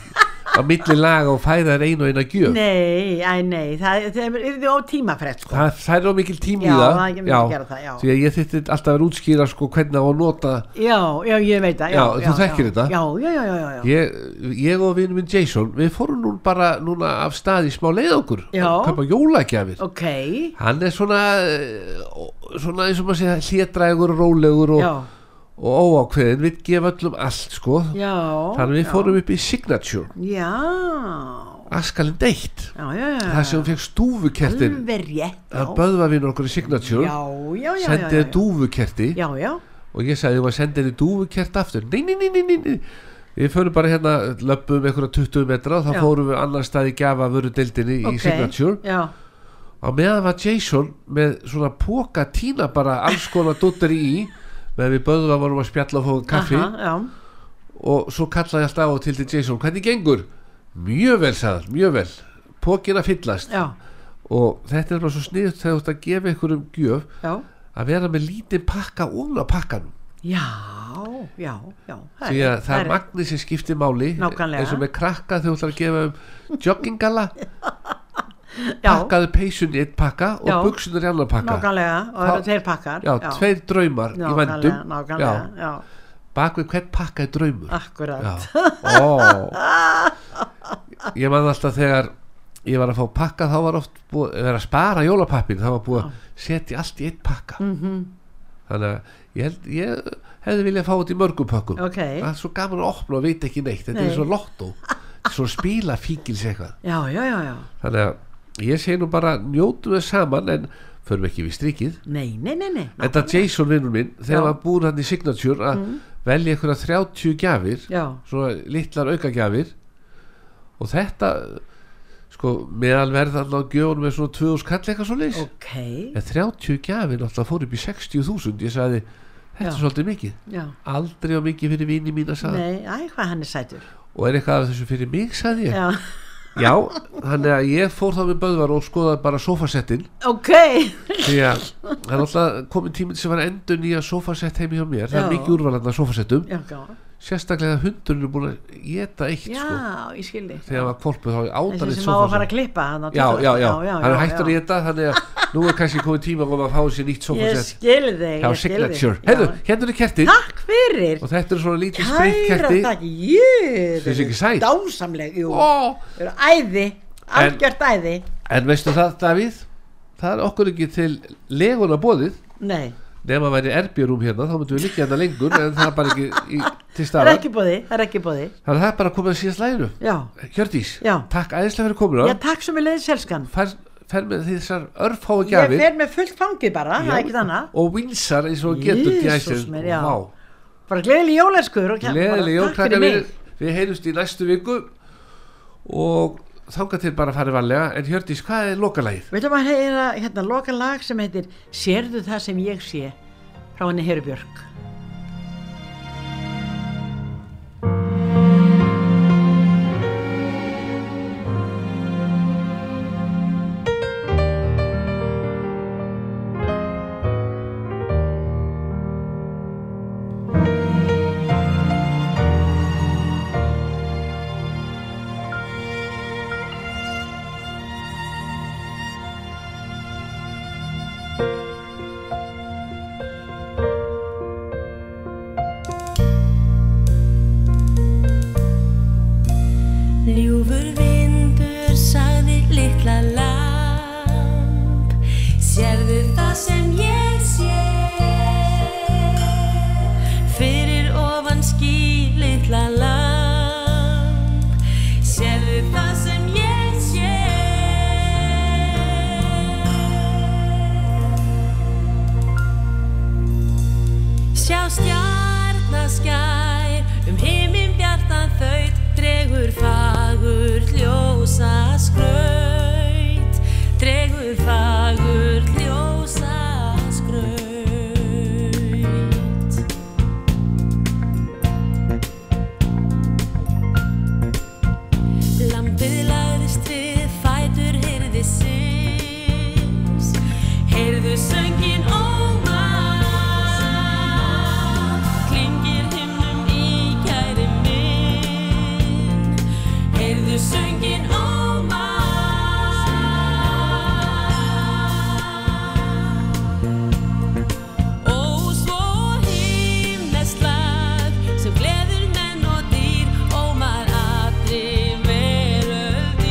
S2: á milli laga og færa þær einu og eina gjöf
S3: Nei, æ, nei, það, það er því á tímafrett sko.
S2: það, það er á mikil tími í
S3: Já, það er
S2: það
S3: ekki mikil að gera það, já.
S2: því að ég þyrfti alltaf að útskýra sko hvernig á að nota
S3: Já, já, ég veit það.
S2: Já, þú þekkir
S3: já.
S2: þetta.
S3: Já, já, já, já, já.
S2: ég, ég og vinur minn Jason við fórum nú bara núna af stað í smá leiðokur
S3: Já.
S2: kaupa jólagjafir
S3: Ok,
S2: hann er svona eh, ó- svona eins og maður segja hlétrægur, rólegur og,
S3: já,
S2: og óákveðin við gefa öllum allt sko
S3: já.
S2: þannig við
S3: já.
S2: fórum upp í Signature
S3: Já,
S2: askalind eitt
S3: já, já, já.
S2: það sem hún fekk stúfukertin
S3: Alveg rétt, já.
S2: hann böðva vinur okkur í
S3: Já,
S2: Signature
S3: já, já, já.
S2: sendið
S3: já,
S2: dúfukerti
S3: Já, já,
S2: og ég sagði, ég var að senda henni dúfukert aftur nei, nei, nei, nei, nei, nei við förum bara hérna, löpum einhverja 20 metra og þá
S3: Já.
S2: fórum við annar stað í gjafa vöru deildinni
S3: ok.
S2: í Signature
S3: Já,
S2: á meðan var Jason með svona póka tína bara alls konar dottir í meðan við böðva vorum að spjalla og fóðum kaffi
S3: aha, já.
S2: og svo kallaði ég alltaf á og til til Jason hvernig gengur? Mjög vel sagði, hann, mjög vel, pókin að fyllast
S3: Já,
S2: og þetta er bara svo sniðut þegar þú ert að gefa einhverjum gjöf
S3: já,
S2: að vera með lítið pakka ofan á pakkanum
S3: já, já, já. það
S2: því að það
S3: er-
S2: er magnið sem skiptir máli
S3: Nákvæmlega.
S2: eins og með krakka þegar þú ætlar að gefa um joggingala,
S3: Já,
S2: pakkaðu peysun í eitt pakka og
S3: Já.
S2: buksunar í annan pakka
S3: Nákvæmlega, og það eru
S2: Þá-
S3: tveir pakkar.
S2: Já, tveir draumar í
S3: Nákvæmlega,
S2: vendum
S3: Nákvæmlega,
S2: Já,
S3: já,
S2: bak við hvern pakka er draumur
S3: akkurat.
S2: Já. Ó. Ég man alltaf þegar ég var að fá pakka þá var oft búið að vera að spara jólapappin þá var búið að setja allt í eitt pakka -hmm.
S3: Mhm.
S2: þannig að ég, held, ég hefði viljað fá þetta í mörgum pakkum
S3: Ok.
S2: það er svo gaman að opna og veit ekki neitt þetta
S3: Nei.
S2: er svo lottó svo spila fíkils eitthvað
S3: Já, já, já, já.
S2: þannig að ég segi nú bara njótum við saman en förum ekki við strikið
S3: Nei, nei, nei, nei.
S2: þetta Jason vinnur minn þegar
S3: Já. Mhm.
S2: hann búið hann í Signature að velja einhverja 30 gjafir
S3: Já,
S2: svona litlar aukagjafir og þetta sko meðalverð allan á gjöfunum er svona 2000 kall eitthvað svo leys
S3: ok,
S2: en 30 gjafir náttúrulega fór upp í 60.000 ég sagði þetta er
S3: Já.
S2: svolítið mikið
S3: já.
S2: aldrei á mikið fyrir vini mína sagði hann.
S3: Nei, æ, hvað hann er sætur.
S2: og er eitthvað af þessu fyrir mig sagði ég
S3: Já,
S2: já, þannig að ég fór þá með Böðvar og skoðaði bara sofasettin
S3: ok,
S2: því að það er alltaf komin tíminn sem var endur nýja sofasett heimi hjá mér það er
S3: Já.
S2: mikið úrvalanda sofasettum
S3: já, já.
S2: sérstaklega hundurinn er búin að geta eitt
S3: Já,
S2: sko
S3: ég skildi.
S2: þegar hann var kvolpuð þá
S3: Þessi
S2: átalið
S3: sem á að fara að klippa hann á
S2: já,
S3: Twitter.
S2: já, já, hann er
S3: já,
S2: hættur í
S3: já.
S2: þetta þannig að nú er kannski komið tíma um að fá sér nýtt
S3: Ég
S2: sofasett
S3: skilði þig,
S2: hjá
S3: ég skilði
S2: Signature Heyrðu,
S3: Já.
S2: hérna er kertin
S3: Takk fyrir,
S2: og þetta er svona lítið
S3: kæra
S2: sprittkerti
S3: takk, jö
S2: Finnst þér ekki sæt?
S3: Dásamleg, jú,
S2: Ó,
S3: þau eru æði, algjört æði
S2: En veistu það, Davíð það er okkur ekki til leguna bóðið
S3: Nei,
S2: nema væri erbjörúm hérna, þá myndum við liggja hérna lengur en það er bara ekki í, til
S3: það
S2: staðar
S3: er ekki bóði, það er ekki bóði
S2: þannig að það er bara að koma að síðast læginu
S3: Já,
S2: Hjördís,
S3: Já.
S2: takk æðislega fyrir komuna
S3: já, takk sem við leiði selskan
S2: fer, fer með þessar örfáu
S3: Ég
S2: gjafir
S3: fer með fullt fangið bara, það er ekkert annað
S2: og vinsar eins og getur
S3: Jesús
S2: gæsir.
S3: minn, já.
S2: Vá.
S3: Bara gleðileg jólæskur og kæ-
S2: Gleðileg
S3: bara
S2: jól,
S3: takk
S2: krakkar
S3: fyrir
S2: mínir.
S3: mig.
S2: Við heyrjumst í næstu viku og þangað til bara að fara varlega. En Hjördís, hvað er lokalægið?
S3: Við ætlum að heyra hérna loka lag sem heitir Sérðu það sem ég sé frá henni Herubjörg
S10: sem ég sé Fyrir ofan ský litla land Sérðu það sem ég sé Sjá stjarnaskær um himinn bjartan þaut dregur fagur ljósa skraut dregur fagur ljósa skraut Lampið lagðist við, fætur heyrði sinns, heyrðu söngin ómar. Klingir himnum í kæri minn, heyrðu söngin ómar. Ó, svo himneskt lag sem gleður menn og dýr, ómar allri veröld í,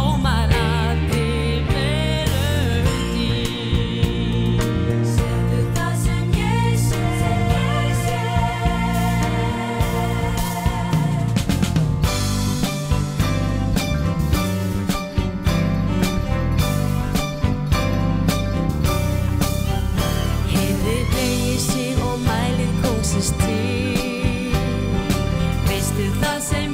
S10: ómar allri veröld í. Sérðu það sem ég sé, sem ég sé. Heiði beigir sig og mælir kósist til Veistu það sem